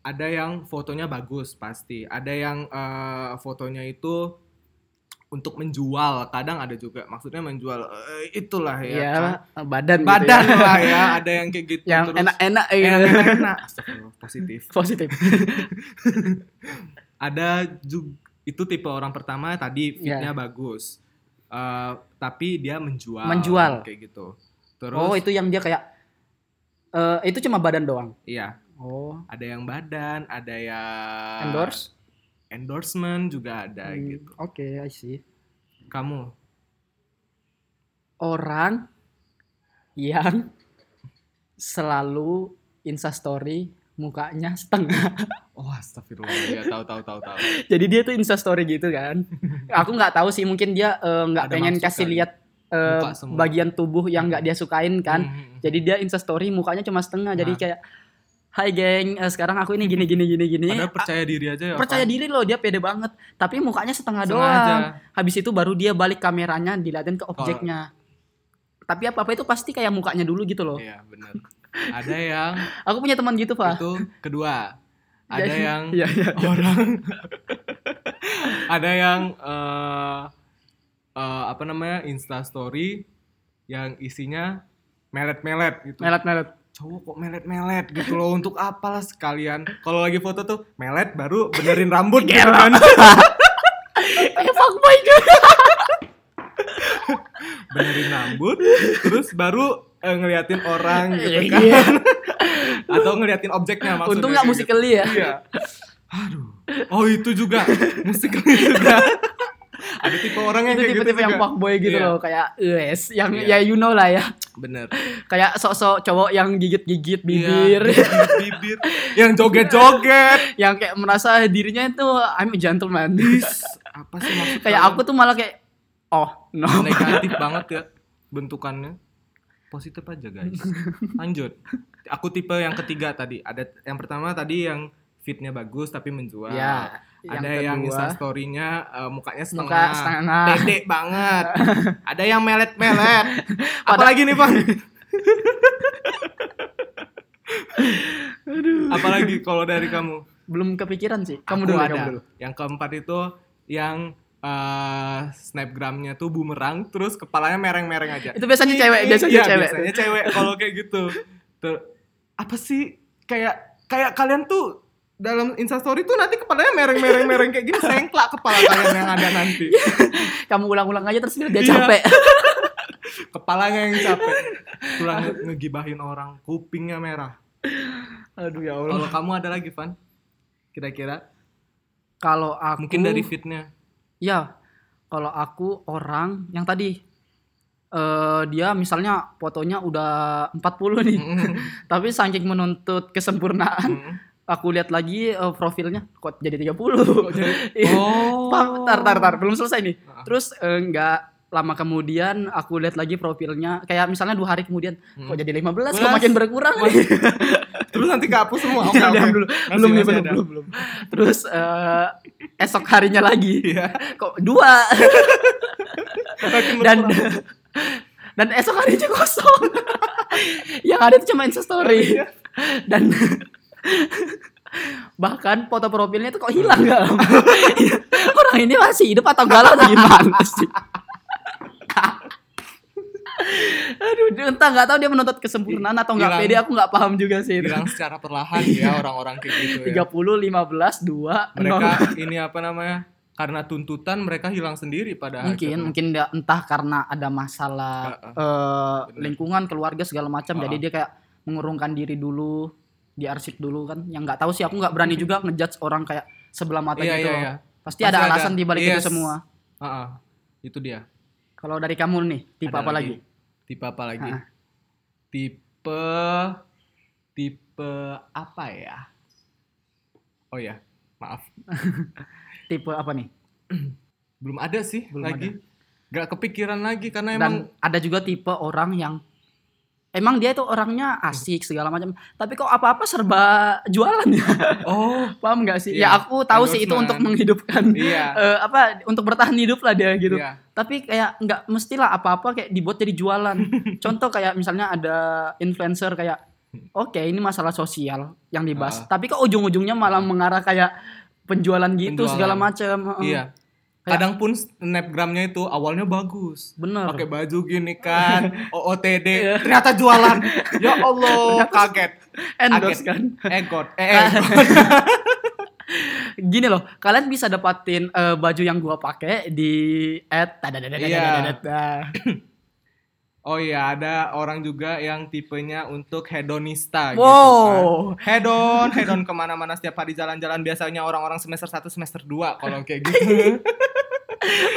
Speaker 2: ada yang fotonya bagus pasti, ada yang eh, fotonya itu untuk menjual, kadang ada juga maksudnya menjual eh, itulah ya,
Speaker 3: Iya
Speaker 2: kan.
Speaker 3: badan. gitu
Speaker 2: badan
Speaker 3: ya.
Speaker 2: lah ya, ada yang kayak gitu
Speaker 3: yang
Speaker 2: terus
Speaker 3: enak-enak eh,
Speaker 2: yang enak-enak. Astagfirullah, positif.
Speaker 3: positif
Speaker 2: Ada juga itu tipe orang pertama
Speaker 3: Iya.
Speaker 2: tadi feednya bagus, Eh, tapi dia menjual,
Speaker 3: Menjual.
Speaker 2: kayak gitu. Terus,
Speaker 3: oh itu yang dia kayak eh itu cuma badan doang
Speaker 2: iya,
Speaker 3: oh
Speaker 2: ada yang badan, ada yang
Speaker 3: endorse
Speaker 2: endorsement juga ada
Speaker 3: Hmm,
Speaker 2: Ah, gitu.
Speaker 3: oke I see
Speaker 2: Kamu
Speaker 3: orang yang selalu instastory mukanya setengah
Speaker 2: oh astagfirullah ya tahu tahu tahu tahu.
Speaker 3: jadi dia tuh instastory gitu kan aku nggak tahu sih mungkin dia eh, nggak
Speaker 2: Ada
Speaker 3: pengen
Speaker 2: maksud
Speaker 3: kasih
Speaker 2: kali.
Speaker 3: lihat eh,
Speaker 2: Muka semua.
Speaker 3: bagian tubuh yang nggak dia sukain kan
Speaker 2: Hmm.
Speaker 3: Jadi dia instastory mukanya cuma setengah. Jadi
Speaker 2: Nah.
Speaker 3: kayak Hai geng, eh, sekarang aku ini gini gini gini gini.
Speaker 2: Padahal percaya diri aja ya.
Speaker 3: Percaya
Speaker 2: Pak.
Speaker 3: diri loh dia pede banget. Tapi mukanya setengah,
Speaker 2: Setengah
Speaker 3: doang.
Speaker 2: aja.
Speaker 3: Habis itu baru dia balik kameranya diliatin ke objeknya. Tapi apa-apa itu pasti kayak mukanya dulu gitu loh.
Speaker 2: Iya benar. Ada yang
Speaker 3: Aku punya teman gitu, Pak.
Speaker 2: itu kedua. Ada
Speaker 3: Jadi-
Speaker 2: yang
Speaker 3: Iya, iya.
Speaker 2: orang. ada yang eh eh, apa namanya Insta Story yang isinya melet-melet gitu.
Speaker 3: Melet-melet.
Speaker 2: Cowok kok melet-melet gitu loh untuk apalah sekalian. Kalau lagi foto tuh melet baru benerin rambut gitu kan.
Speaker 3: Kayak fuckboy gitu.
Speaker 2: benerin rambut terus baru eh, ngeliatin orang gitu kan
Speaker 3: Iya.
Speaker 2: atau ngeliatin objeknya maksudnya
Speaker 3: Untung nggak
Speaker 2: kayak
Speaker 3: musically ya.
Speaker 2: gitu. iya aduh oh itu juga musik juga ada tipe orang yang
Speaker 3: Itu
Speaker 2: kayak
Speaker 3: tipe-tipe
Speaker 2: gitu
Speaker 3: yang
Speaker 2: juga.
Speaker 3: fuckboy gitu
Speaker 2: Iya.
Speaker 3: loh, kayak yes, yang ya
Speaker 2: Iya.
Speaker 3: you know lah ya.
Speaker 2: bener
Speaker 3: Kayak sok-sok cowok yang gigit-gigit bibir.
Speaker 2: Iya, bibir yang joget-joget
Speaker 3: yang kayak merasa dirinya itu I'm a gentleman.
Speaker 2: Is, apa sih maksud
Speaker 3: kayak
Speaker 2: kalian?
Speaker 3: aku tuh malah kayak oh no.
Speaker 2: negatif banget ya bentukannya positif aja guys lanjut aku tipe yang ketiga tadi ada yang pertama tadi yang fitnya bagus tapi menjual
Speaker 3: Ya,
Speaker 2: ada yang instastorynya nya mukanya setengah,
Speaker 3: muka setengah.
Speaker 2: pede banget ada yang melet melet
Speaker 3: Pada-
Speaker 2: apalagi nih bang Apalagi kalau dari kamu?
Speaker 3: Belum kepikiran sih. Kamu
Speaker 2: Aku
Speaker 3: dulu,
Speaker 2: ada.
Speaker 3: kamu dulu.
Speaker 2: Yang keempat itu yang eh, snapgramnya tuh bumerang terus kepalanya mereng-mereng aja.
Speaker 3: Itu biasanya cewek,
Speaker 2: Iya,
Speaker 3: biasanya cewek.
Speaker 2: Biasanya cewek kalau kayak gitu. Ter- apa sih kayak kayak kalian tuh dalam instastory tuh nanti kepalanya mereng-mereng-mereng kayak gini sengklak kepala kalian yang ada nanti.
Speaker 3: Kamu ulang-ulang aja terus biar dia
Speaker 2: Iya.
Speaker 3: capek.
Speaker 2: Kepalanya yang capek. Tulang nge- ngegibahin orang, kupingnya merah.
Speaker 3: Aduh ya
Speaker 2: Kalau kamu ada lagi, Van? Kira-kira
Speaker 3: Kalau aku
Speaker 2: mungkin dari fitnya.
Speaker 3: Ya, kalau aku orang yang tadi eh dia misalnya fotonya udah 40 nih, tapi saking menuntut kesempurnaan, aku lihat lagi eh, profilnya kok jadi 30. Iya.
Speaker 2: Oh.
Speaker 3: Paham? Tar, tar, tar, belum selesai nih.
Speaker 2: Ah.
Speaker 3: Terus eh, nggak lama kemudian aku lihat lagi profilnya kayak misalnya dua hari kemudian kok
Speaker 2: Hmm.
Speaker 3: jadi 15 kok
Speaker 2: Belas.
Speaker 3: makin berkurang
Speaker 2: Wah. Terus nanti kehapus semua. Oke,
Speaker 3: Udah,
Speaker 2: oke.
Speaker 3: belum,
Speaker 2: Masih,
Speaker 3: belum,
Speaker 2: masih
Speaker 3: belum,
Speaker 2: ada.
Speaker 3: belum, belum. terus eh, esok harinya lagi
Speaker 2: Iya.
Speaker 3: kok dua
Speaker 2: Makin
Speaker 3: dan
Speaker 2: berkurang.
Speaker 3: dan esok harinya kosong yang ada itu cuma
Speaker 2: Oh,
Speaker 3: instastory
Speaker 2: iya.
Speaker 3: dan bahkan foto profilnya itu kok hilang nggak lama orang ini masih hidup atau galau atau gimana sih aduh dia entah nggak tahu dia menuntut kesempurnaan atau nggak
Speaker 2: Hilang.
Speaker 3: pede aku nggak paham juga sih itu
Speaker 2: hilang secara perlahan ya orang-orang kayak gitu ya.
Speaker 3: tiga puluh lima belas dua
Speaker 2: Mereka ini apa namanya? Karena tuntutan mereka hilang sendiri pada
Speaker 3: mungkin
Speaker 2: akhirnya.
Speaker 3: mungkin dia entah karena ada masalah
Speaker 2: gitu. Heeh.
Speaker 3: eh, lingkungan keluarga segala macam jadi
Speaker 2: Heeh.
Speaker 3: dia kayak mengurungkan diri dulu diarsip dulu kan yang nggak tahu sih aku nggak berani juga ngejudge orang kayak sebelah mata
Speaker 2: Iya,
Speaker 3: gitu
Speaker 2: iya,
Speaker 3: loh.
Speaker 2: iya.
Speaker 3: pasti,
Speaker 2: Pasti
Speaker 3: ada
Speaker 2: ada.
Speaker 3: alasan di balik itu
Speaker 2: Yes.
Speaker 3: semua
Speaker 2: Heeh. Itu dia.
Speaker 3: kalau dari kamu nih tipe
Speaker 2: Ada
Speaker 3: apa lagi,
Speaker 2: Tipe apa lagi?
Speaker 3: Heeh.
Speaker 2: Tipe tipe apa ya? Oh ya, maaf.
Speaker 3: tipe apa nih
Speaker 2: Belum ada sih
Speaker 3: Belum
Speaker 2: lagi. Gak kepikiran lagi
Speaker 3: dan
Speaker 2: karena emang
Speaker 3: ada juga tipe orang yang emang dia itu orangnya asik
Speaker 2: Hmm.
Speaker 3: segala macam tapi kok apa apa serba jualan ya
Speaker 2: oh
Speaker 3: paham nggak sih
Speaker 2: Iya,
Speaker 3: ya aku tahu sih itu untuk
Speaker 2: endorsement.
Speaker 3: menghidupkan
Speaker 2: iya.
Speaker 3: eh, apa untuk bertahan hidup lah dia gitu
Speaker 2: Iya.
Speaker 3: tapi kayak nggak mestilah apa-apa kayak dibuat jadi jualan contoh kayak misalnya ada influencer kayak oke ini masalah sosial yang dibahas
Speaker 2: Ah.
Speaker 3: tapi kok ujung-ujungnya malah mengarah kayak penjualan gitu
Speaker 2: Penjualan.
Speaker 3: segala macam Heeh.
Speaker 2: Iya. Kadang pun snapgramnya itu awalnya bagus.
Speaker 3: bener
Speaker 2: Pakai baju gini kan, OOTD, ternyata jualan. Ya Allah, kaget.
Speaker 3: endorse
Speaker 2: Kaget.
Speaker 3: kan
Speaker 2: Eh God, eh, eh, God.
Speaker 3: gini loh kalian bisa dapatin eh, baju yang gua pakai di at
Speaker 2: Iya. Oh iya, ada orang juga yang tipenya untuk hedonista gitu kan.
Speaker 3: wow
Speaker 2: Hedon, hedon kemana-mana setiap hari jalan-jalan Biasanya orang-orang semester 1, semester 2 Kalau kayak gitu kan.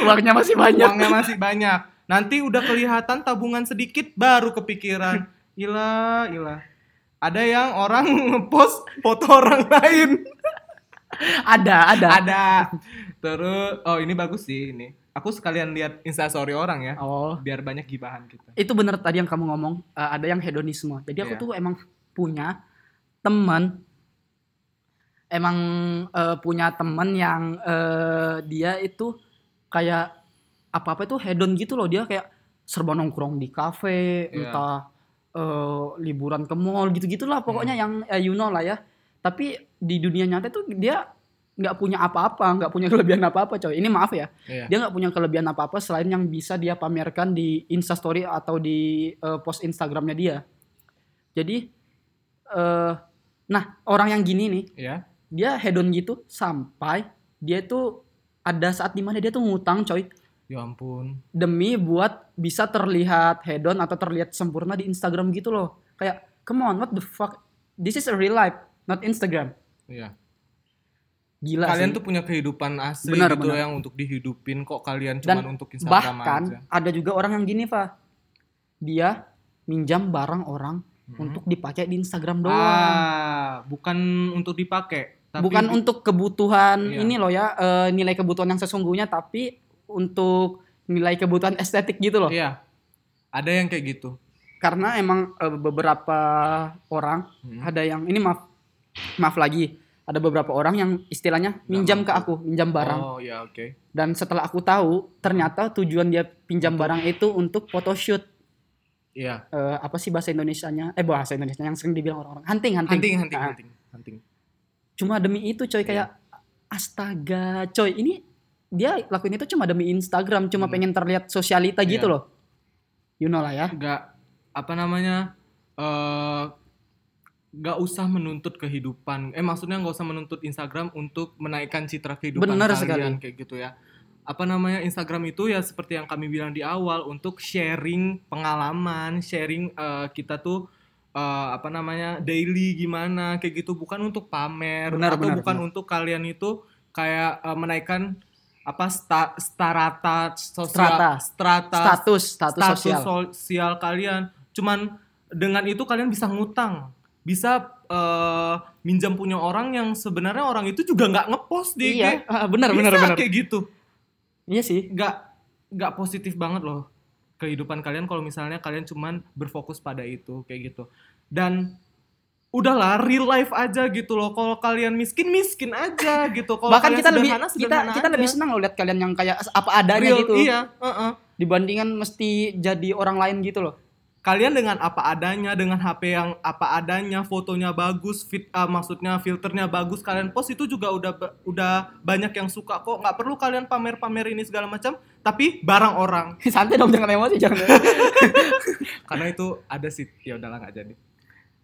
Speaker 3: uangnya masih banyak
Speaker 2: Uangnya masih banyak Nanti udah kelihatan tabungan sedikit Baru kepikiran Ilah, ilah Ada yang orang ngepost foto orang lain
Speaker 3: ada ada
Speaker 2: Ada Terus, oh ini bagus sih ini Aku sekalian lihat instastory orang ya
Speaker 3: oh
Speaker 2: Biar banyak gibahan kita
Speaker 3: itu bener tadi yang kamu ngomong eh, ada yang hedonisme jadi aku
Speaker 2: Iya.
Speaker 3: tuh emang punya teman emang eh, punya teman yang eh, dia itu kayak apa apa itu hedon gitu loh dia kayak serba nongkrong di kafe
Speaker 2: Iya.
Speaker 3: entah eh, liburan ke mall gitu gitulah pokoknya
Speaker 2: Hmm.
Speaker 3: yang eh, you know lah ya tapi di dunia nyata tuh dia nggak punya apa-apa nggak punya kelebihan apa-apa coy ini maaf ya
Speaker 2: Iya.
Speaker 3: dia nggak punya kelebihan apa apa selain yang bisa dia pamerkan di instastory atau di eh, post instagramnya dia jadi eh nah orang yang gini nih
Speaker 2: Iya.
Speaker 3: dia hedon gitu sampai dia tuh ada saat dimana dia tuh ngutang coy
Speaker 2: Ya ampun
Speaker 3: demi buat bisa terlihat hedon atau terlihat sempurna di instagram gitu loh kayak come on what the fuck this is a real life not instagram
Speaker 2: Iya.
Speaker 3: gila
Speaker 2: Kalian
Speaker 3: sih.
Speaker 2: tuh punya kehidupan asli
Speaker 3: Benar,
Speaker 2: gitu
Speaker 3: benar.
Speaker 2: yang untuk dihidupin kok kalian
Speaker 3: Dan
Speaker 2: cuman untuk Instagram
Speaker 3: bahkan
Speaker 2: aja.
Speaker 3: ada juga orang yang gini Fa dia minjam barang orang
Speaker 2: Mm.
Speaker 3: untuk dipakai di Instagram doang
Speaker 2: Ah, bukan untuk dipakai, tapi
Speaker 3: bukan
Speaker 2: di-
Speaker 3: untuk kebutuhan
Speaker 2: Iya.
Speaker 3: ini loh ya eh, nilai kebutuhan yang sesungguhnya tapi untuk nilai kebutuhan estetik gitu loh
Speaker 2: Iya. Ada yang kayak gitu.
Speaker 3: karena emang eh, beberapa orang
Speaker 2: Hmm.
Speaker 3: ada yang ini maaf maaf lagi ada beberapa orang yang istilahnya minjam ke
Speaker 2: mampu.
Speaker 3: aku minjam barang
Speaker 2: Oh, ya oke.
Speaker 3: dan setelah aku tahu ternyata tujuan dia pinjam barang itu untuk photoshoot
Speaker 2: Iya.
Speaker 3: eh, apa sih bahasa Indonesianya? Eh bahasa Indonesia yang sering dibilang orang-orang hunting, hunting.
Speaker 2: Hunting, hunting,
Speaker 3: Ah,
Speaker 2: hunting, hunting.
Speaker 3: Cuma demi itu coy kayak
Speaker 2: Iya.
Speaker 3: astaga coy ini dia lakuin itu cuma demi Instagram, cuma
Speaker 2: Hmm.
Speaker 3: pengen terlihat sosialita gitu
Speaker 2: Iya.
Speaker 3: loh. You know lah ya.
Speaker 2: Nggak apa namanya? eh nggak usah menuntut kehidupan. Eh maksudnya nggak usah menuntut Instagram untuk menaikkan citra kehidupan
Speaker 3: Benar
Speaker 2: kalian
Speaker 3: sekali.
Speaker 2: kayak gitu ya. Apa namanya Instagram itu ya seperti yang kami bilang di awal untuk sharing pengalaman, sharing eh, kita tuh eh, apa namanya daily gimana kayak gitu bukan untuk pamer
Speaker 3: Benar,
Speaker 2: atau
Speaker 3: benar,
Speaker 2: bukan untuk kalian itu kayak eh, menaikkan apa sta,
Speaker 3: Strata.
Speaker 2: starata sosial strata
Speaker 3: Status, status,
Speaker 2: status
Speaker 3: sosial.
Speaker 2: sosial. kalian. Cuman dengan itu kalian bisa ngutang, bisa eh, minjam punya orang yang sebenarnya orang itu juga nggak ngepost di IG.
Speaker 3: Iya, ah, benar
Speaker 2: Bisa
Speaker 3: benar benar.
Speaker 2: kayak gitu.
Speaker 3: Iya sih.
Speaker 2: Nggak nggak positif banget loh kehidupan kalian kalau misalnya kalian cuman berfokus pada itu kayak gitu. Dan udahlah real life aja gitu loh. Kalau kalian miskin miskin aja gitu. Kalau
Speaker 3: Bahkan
Speaker 2: kalian
Speaker 3: kita lebih
Speaker 2: sederhana,
Speaker 3: kita
Speaker 2: sederhana
Speaker 3: kita
Speaker 2: aja.
Speaker 3: lebih senang loh lihat kalian yang kayak apa adanya
Speaker 2: real,
Speaker 3: gitu
Speaker 2: Iya, heeh.
Speaker 3: dibandingkan mesti jadi orang lain gitu loh.
Speaker 2: kalian dengan apa adanya dengan HP yang apa adanya fotonya bagus fit ah, maksudnya filternya bagus kalian post itu juga udah ba- udah banyak yang suka kok nggak perlu kalian pamer-pamer ini segala macam tapi barang orang
Speaker 3: Santai dong jangan emosi jangan.
Speaker 2: karena itu ada sih ya udahlah nggak jadi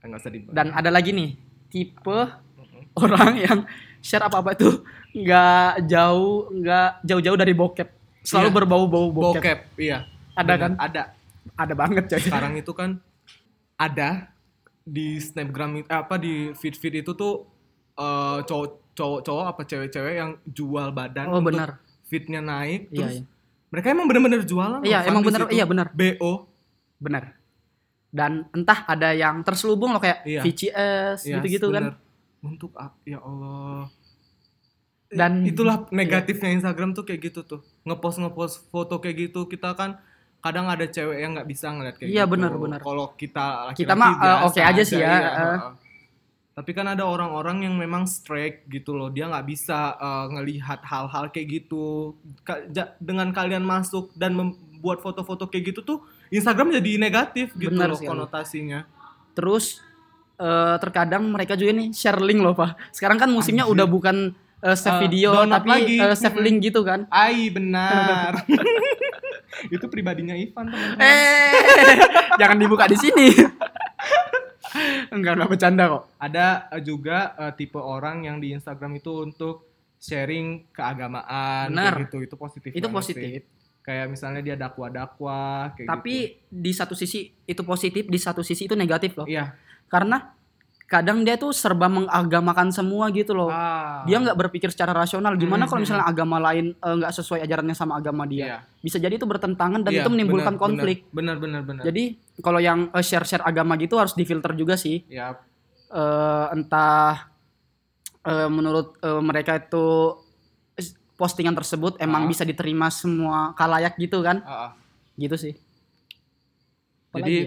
Speaker 2: Eh, nggak usah dibahas
Speaker 3: Dan ada lagi nih tipe orang yang share apa apa itu nggak jauh nggak jauh-jauh dari bokep, selalu
Speaker 2: Iya.
Speaker 3: berbau-bau bokep.
Speaker 2: bokep iya
Speaker 3: Ada
Speaker 2: Benar,
Speaker 3: kan?
Speaker 2: ada
Speaker 3: Ada banget coy.
Speaker 2: sekarang itu kan ada di snapgram it- apa di feed feed itu tuh eh, cowok cowok cowok apa cewek-cewek yang jual badan
Speaker 3: Oh,
Speaker 2: untuk
Speaker 3: benar.
Speaker 2: fitnya naik
Speaker 3: Iya,
Speaker 2: terus
Speaker 3: iya.
Speaker 2: mereka emang benar-benar jualan
Speaker 3: Iya,
Speaker 2: loh,
Speaker 3: emang
Speaker 2: Van, di
Speaker 3: benar,
Speaker 2: situ.
Speaker 3: iya, benar.
Speaker 2: bo
Speaker 3: Benar. Dan entah ada yang terselubung loh kayak
Speaker 2: Iya.
Speaker 3: VCS
Speaker 2: Yes,
Speaker 3: gitu-gitu kan.
Speaker 2: benar. untuk apa ya Allah Eh,
Speaker 3: Dan- iya.
Speaker 2: itulah negatifnya Instagram tuh kayak gitu tuh ngepost ngepost foto kayak gitu kita kan kadang ada cewek yang nggak bisa ngeliat kayak
Speaker 3: Iya,
Speaker 2: gitu
Speaker 3: benar, benar.
Speaker 2: kalau kita laki-laki
Speaker 3: Kita mah, eh,
Speaker 2: biasa
Speaker 3: oke aja sih ya,
Speaker 2: iya,
Speaker 3: eh.
Speaker 2: heeh. tapi kan ada orang-orang yang memang strike gitu loh dia nggak bisa eh, ngelihat hal-hal kayak gitu Ka- ja- dengan kalian masuk dan membuat foto-foto kayak gitu tuh Instagram jadi negatif gitu
Speaker 3: Benar
Speaker 2: loh
Speaker 3: sekali.
Speaker 2: konotasinya
Speaker 3: Terus eh, terkadang mereka juga nih share link loh pak. Sekarang kan musimnya
Speaker 2: Anjir.
Speaker 3: udah bukan eh, save
Speaker 2: Eh,
Speaker 3: video
Speaker 2: download
Speaker 3: tapi
Speaker 2: lagi.
Speaker 3: eh, save
Speaker 2: Mm-mm.
Speaker 3: link gitu kan.
Speaker 2: Ai benar. itu pribadinya Ivan teman-teman.
Speaker 3: Eh, jangan dibuka di sini. Enggak, enggak bercanda kok.
Speaker 2: Ada eh, juga eh, tipe orang yang di Instagram itu untuk sharing keagamaan
Speaker 3: Benar.
Speaker 2: kayak gitu. Itu positif.
Speaker 3: Itu
Speaker 2: banget
Speaker 3: positif.
Speaker 2: sih. Kayak misalnya dia dakwah-dakwah kayak
Speaker 3: Tapi
Speaker 2: gitu.
Speaker 3: di satu sisi itu positif, di satu sisi itu negatif loh.
Speaker 2: iya.
Speaker 3: Karena kadang dia tuh serba mengagamakan semua gitu loh.
Speaker 2: Ah.
Speaker 3: Dia nggak berpikir secara rasional. Gimana
Speaker 2: Hmm,
Speaker 3: kalau
Speaker 2: hmm.
Speaker 3: misalnya agama lain eh, nggak sesuai ajarannya sama agama dia?
Speaker 2: Iya.
Speaker 3: Bisa jadi itu bertentangan dan
Speaker 2: Iya,
Speaker 3: itu menimbulkan
Speaker 2: benar,
Speaker 3: konflik.
Speaker 2: Benar benar benar.
Speaker 3: Jadi kalau yang eh, share-share agama gitu harus difilter juga sih.
Speaker 2: ya
Speaker 3: eh entah eh, menurut eh, mereka itu s- postingan tersebut emang
Speaker 2: Ah.
Speaker 3: bisa diterima semua kalayak gitu kan
Speaker 2: ah, ah.
Speaker 3: gitu sih
Speaker 2: Jadi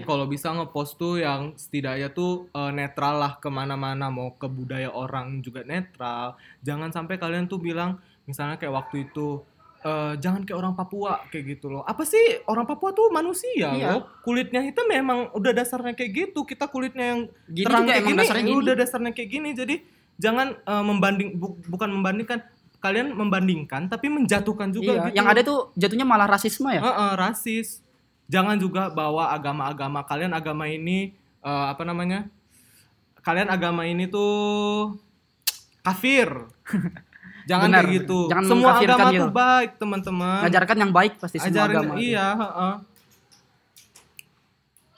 Speaker 3: Apalagi ya?
Speaker 2: kalau bisa ngepost tuh yang setidaknya tuh eh, netral lah kemana-mana mau ke budaya orang juga netral. Jangan sampai kalian tuh bilang misalnya kayak waktu itu eh, jangan kayak orang Papua kayak gitu loh. Apa sih orang Papua tuh manusia
Speaker 3: Iya.
Speaker 2: loh. Kulitnya hitam memang udah dasarnya kayak gitu. Kita kulitnya yang
Speaker 3: Gini
Speaker 2: terang
Speaker 3: juga
Speaker 2: kayak
Speaker 3: emang
Speaker 2: gini,
Speaker 3: dasarnya gini.
Speaker 2: udah dasarnya kayak gini. Jadi jangan eh, membanding bu- bukan membandingkan kalian membandingkan tapi menjatuhkan juga
Speaker 3: Iya,
Speaker 2: gitu.
Speaker 3: yang ada tuh jatuhnya malah rasisme ya
Speaker 2: Heeh, rasis. Jangan juga bawa agama-agama kalian agama ini eh, apa namanya? Kalian agama ini tuh kafir. Jangan
Speaker 3: Benar.
Speaker 2: kayak gitu.
Speaker 3: Jangan
Speaker 2: Semua
Speaker 3: mengkafirkan
Speaker 2: agama
Speaker 3: gitu.
Speaker 2: tuh baik, teman-teman.
Speaker 3: ngajarkan yang baik pasti semua
Speaker 2: Ajarin-
Speaker 3: agama
Speaker 2: Ah. iya, heeh.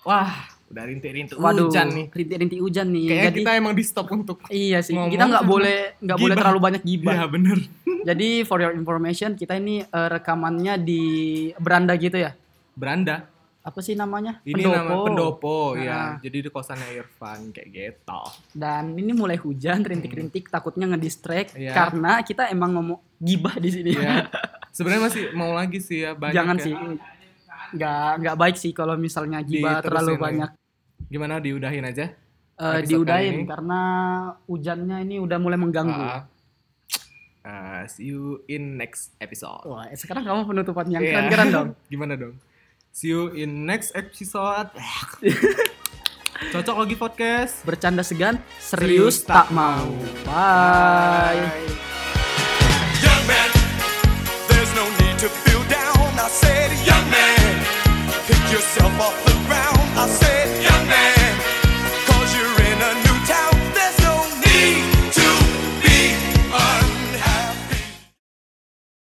Speaker 2: Wah, udah rintik-rintik
Speaker 3: waduh
Speaker 2: hujan nih.
Speaker 3: rintik-rintik hujan nih
Speaker 2: Kayaknya
Speaker 3: jadi
Speaker 2: kita emang di stop untuk
Speaker 3: iya sih
Speaker 2: ngomong.
Speaker 3: kita nggak boleh nggak boleh
Speaker 2: Gibah.
Speaker 3: terlalu banyak gibah
Speaker 2: Iya, bener.
Speaker 3: jadi for your information kita ini eh, rekamannya di beranda gitu ya
Speaker 2: Beranda.
Speaker 3: apa sih namanya
Speaker 2: Ini nama pendopo
Speaker 3: Ah.
Speaker 2: ya. Jadi di kosannya Irfan kayak gitu.
Speaker 3: dan ini mulai hujan rintik-rintik takutnya ngedistract
Speaker 2: Iya.
Speaker 3: karena kita emang ngomong gibah di sini
Speaker 2: ya sebenarnya masih mau lagi sih ya banyak
Speaker 3: Iya. jangan
Speaker 2: ya.
Speaker 3: sih nggak nggak baik sih kalau misalnya gibah
Speaker 2: Diterusin ya.
Speaker 3: terlalu
Speaker 2: lagi.
Speaker 3: banyak
Speaker 2: gimana diudahin aja
Speaker 3: eh
Speaker 2: Episode kali
Speaker 3: diudahin
Speaker 2: ini.
Speaker 3: karena hujannya ini udah mulai mengganggu
Speaker 2: Ah. Ah, see you in next episode
Speaker 3: wah sekarang kamu penutupan Oh, yang
Speaker 2: Iya.
Speaker 3: keren-keren dong
Speaker 2: gimana dong See you in next episode. Cocok lagi podcast.
Speaker 3: Bercanda segan, serius, tak mau. Bye.
Speaker 4: Young man, there's no need to feel down. I said, young man, pick yourself off the ground. I said.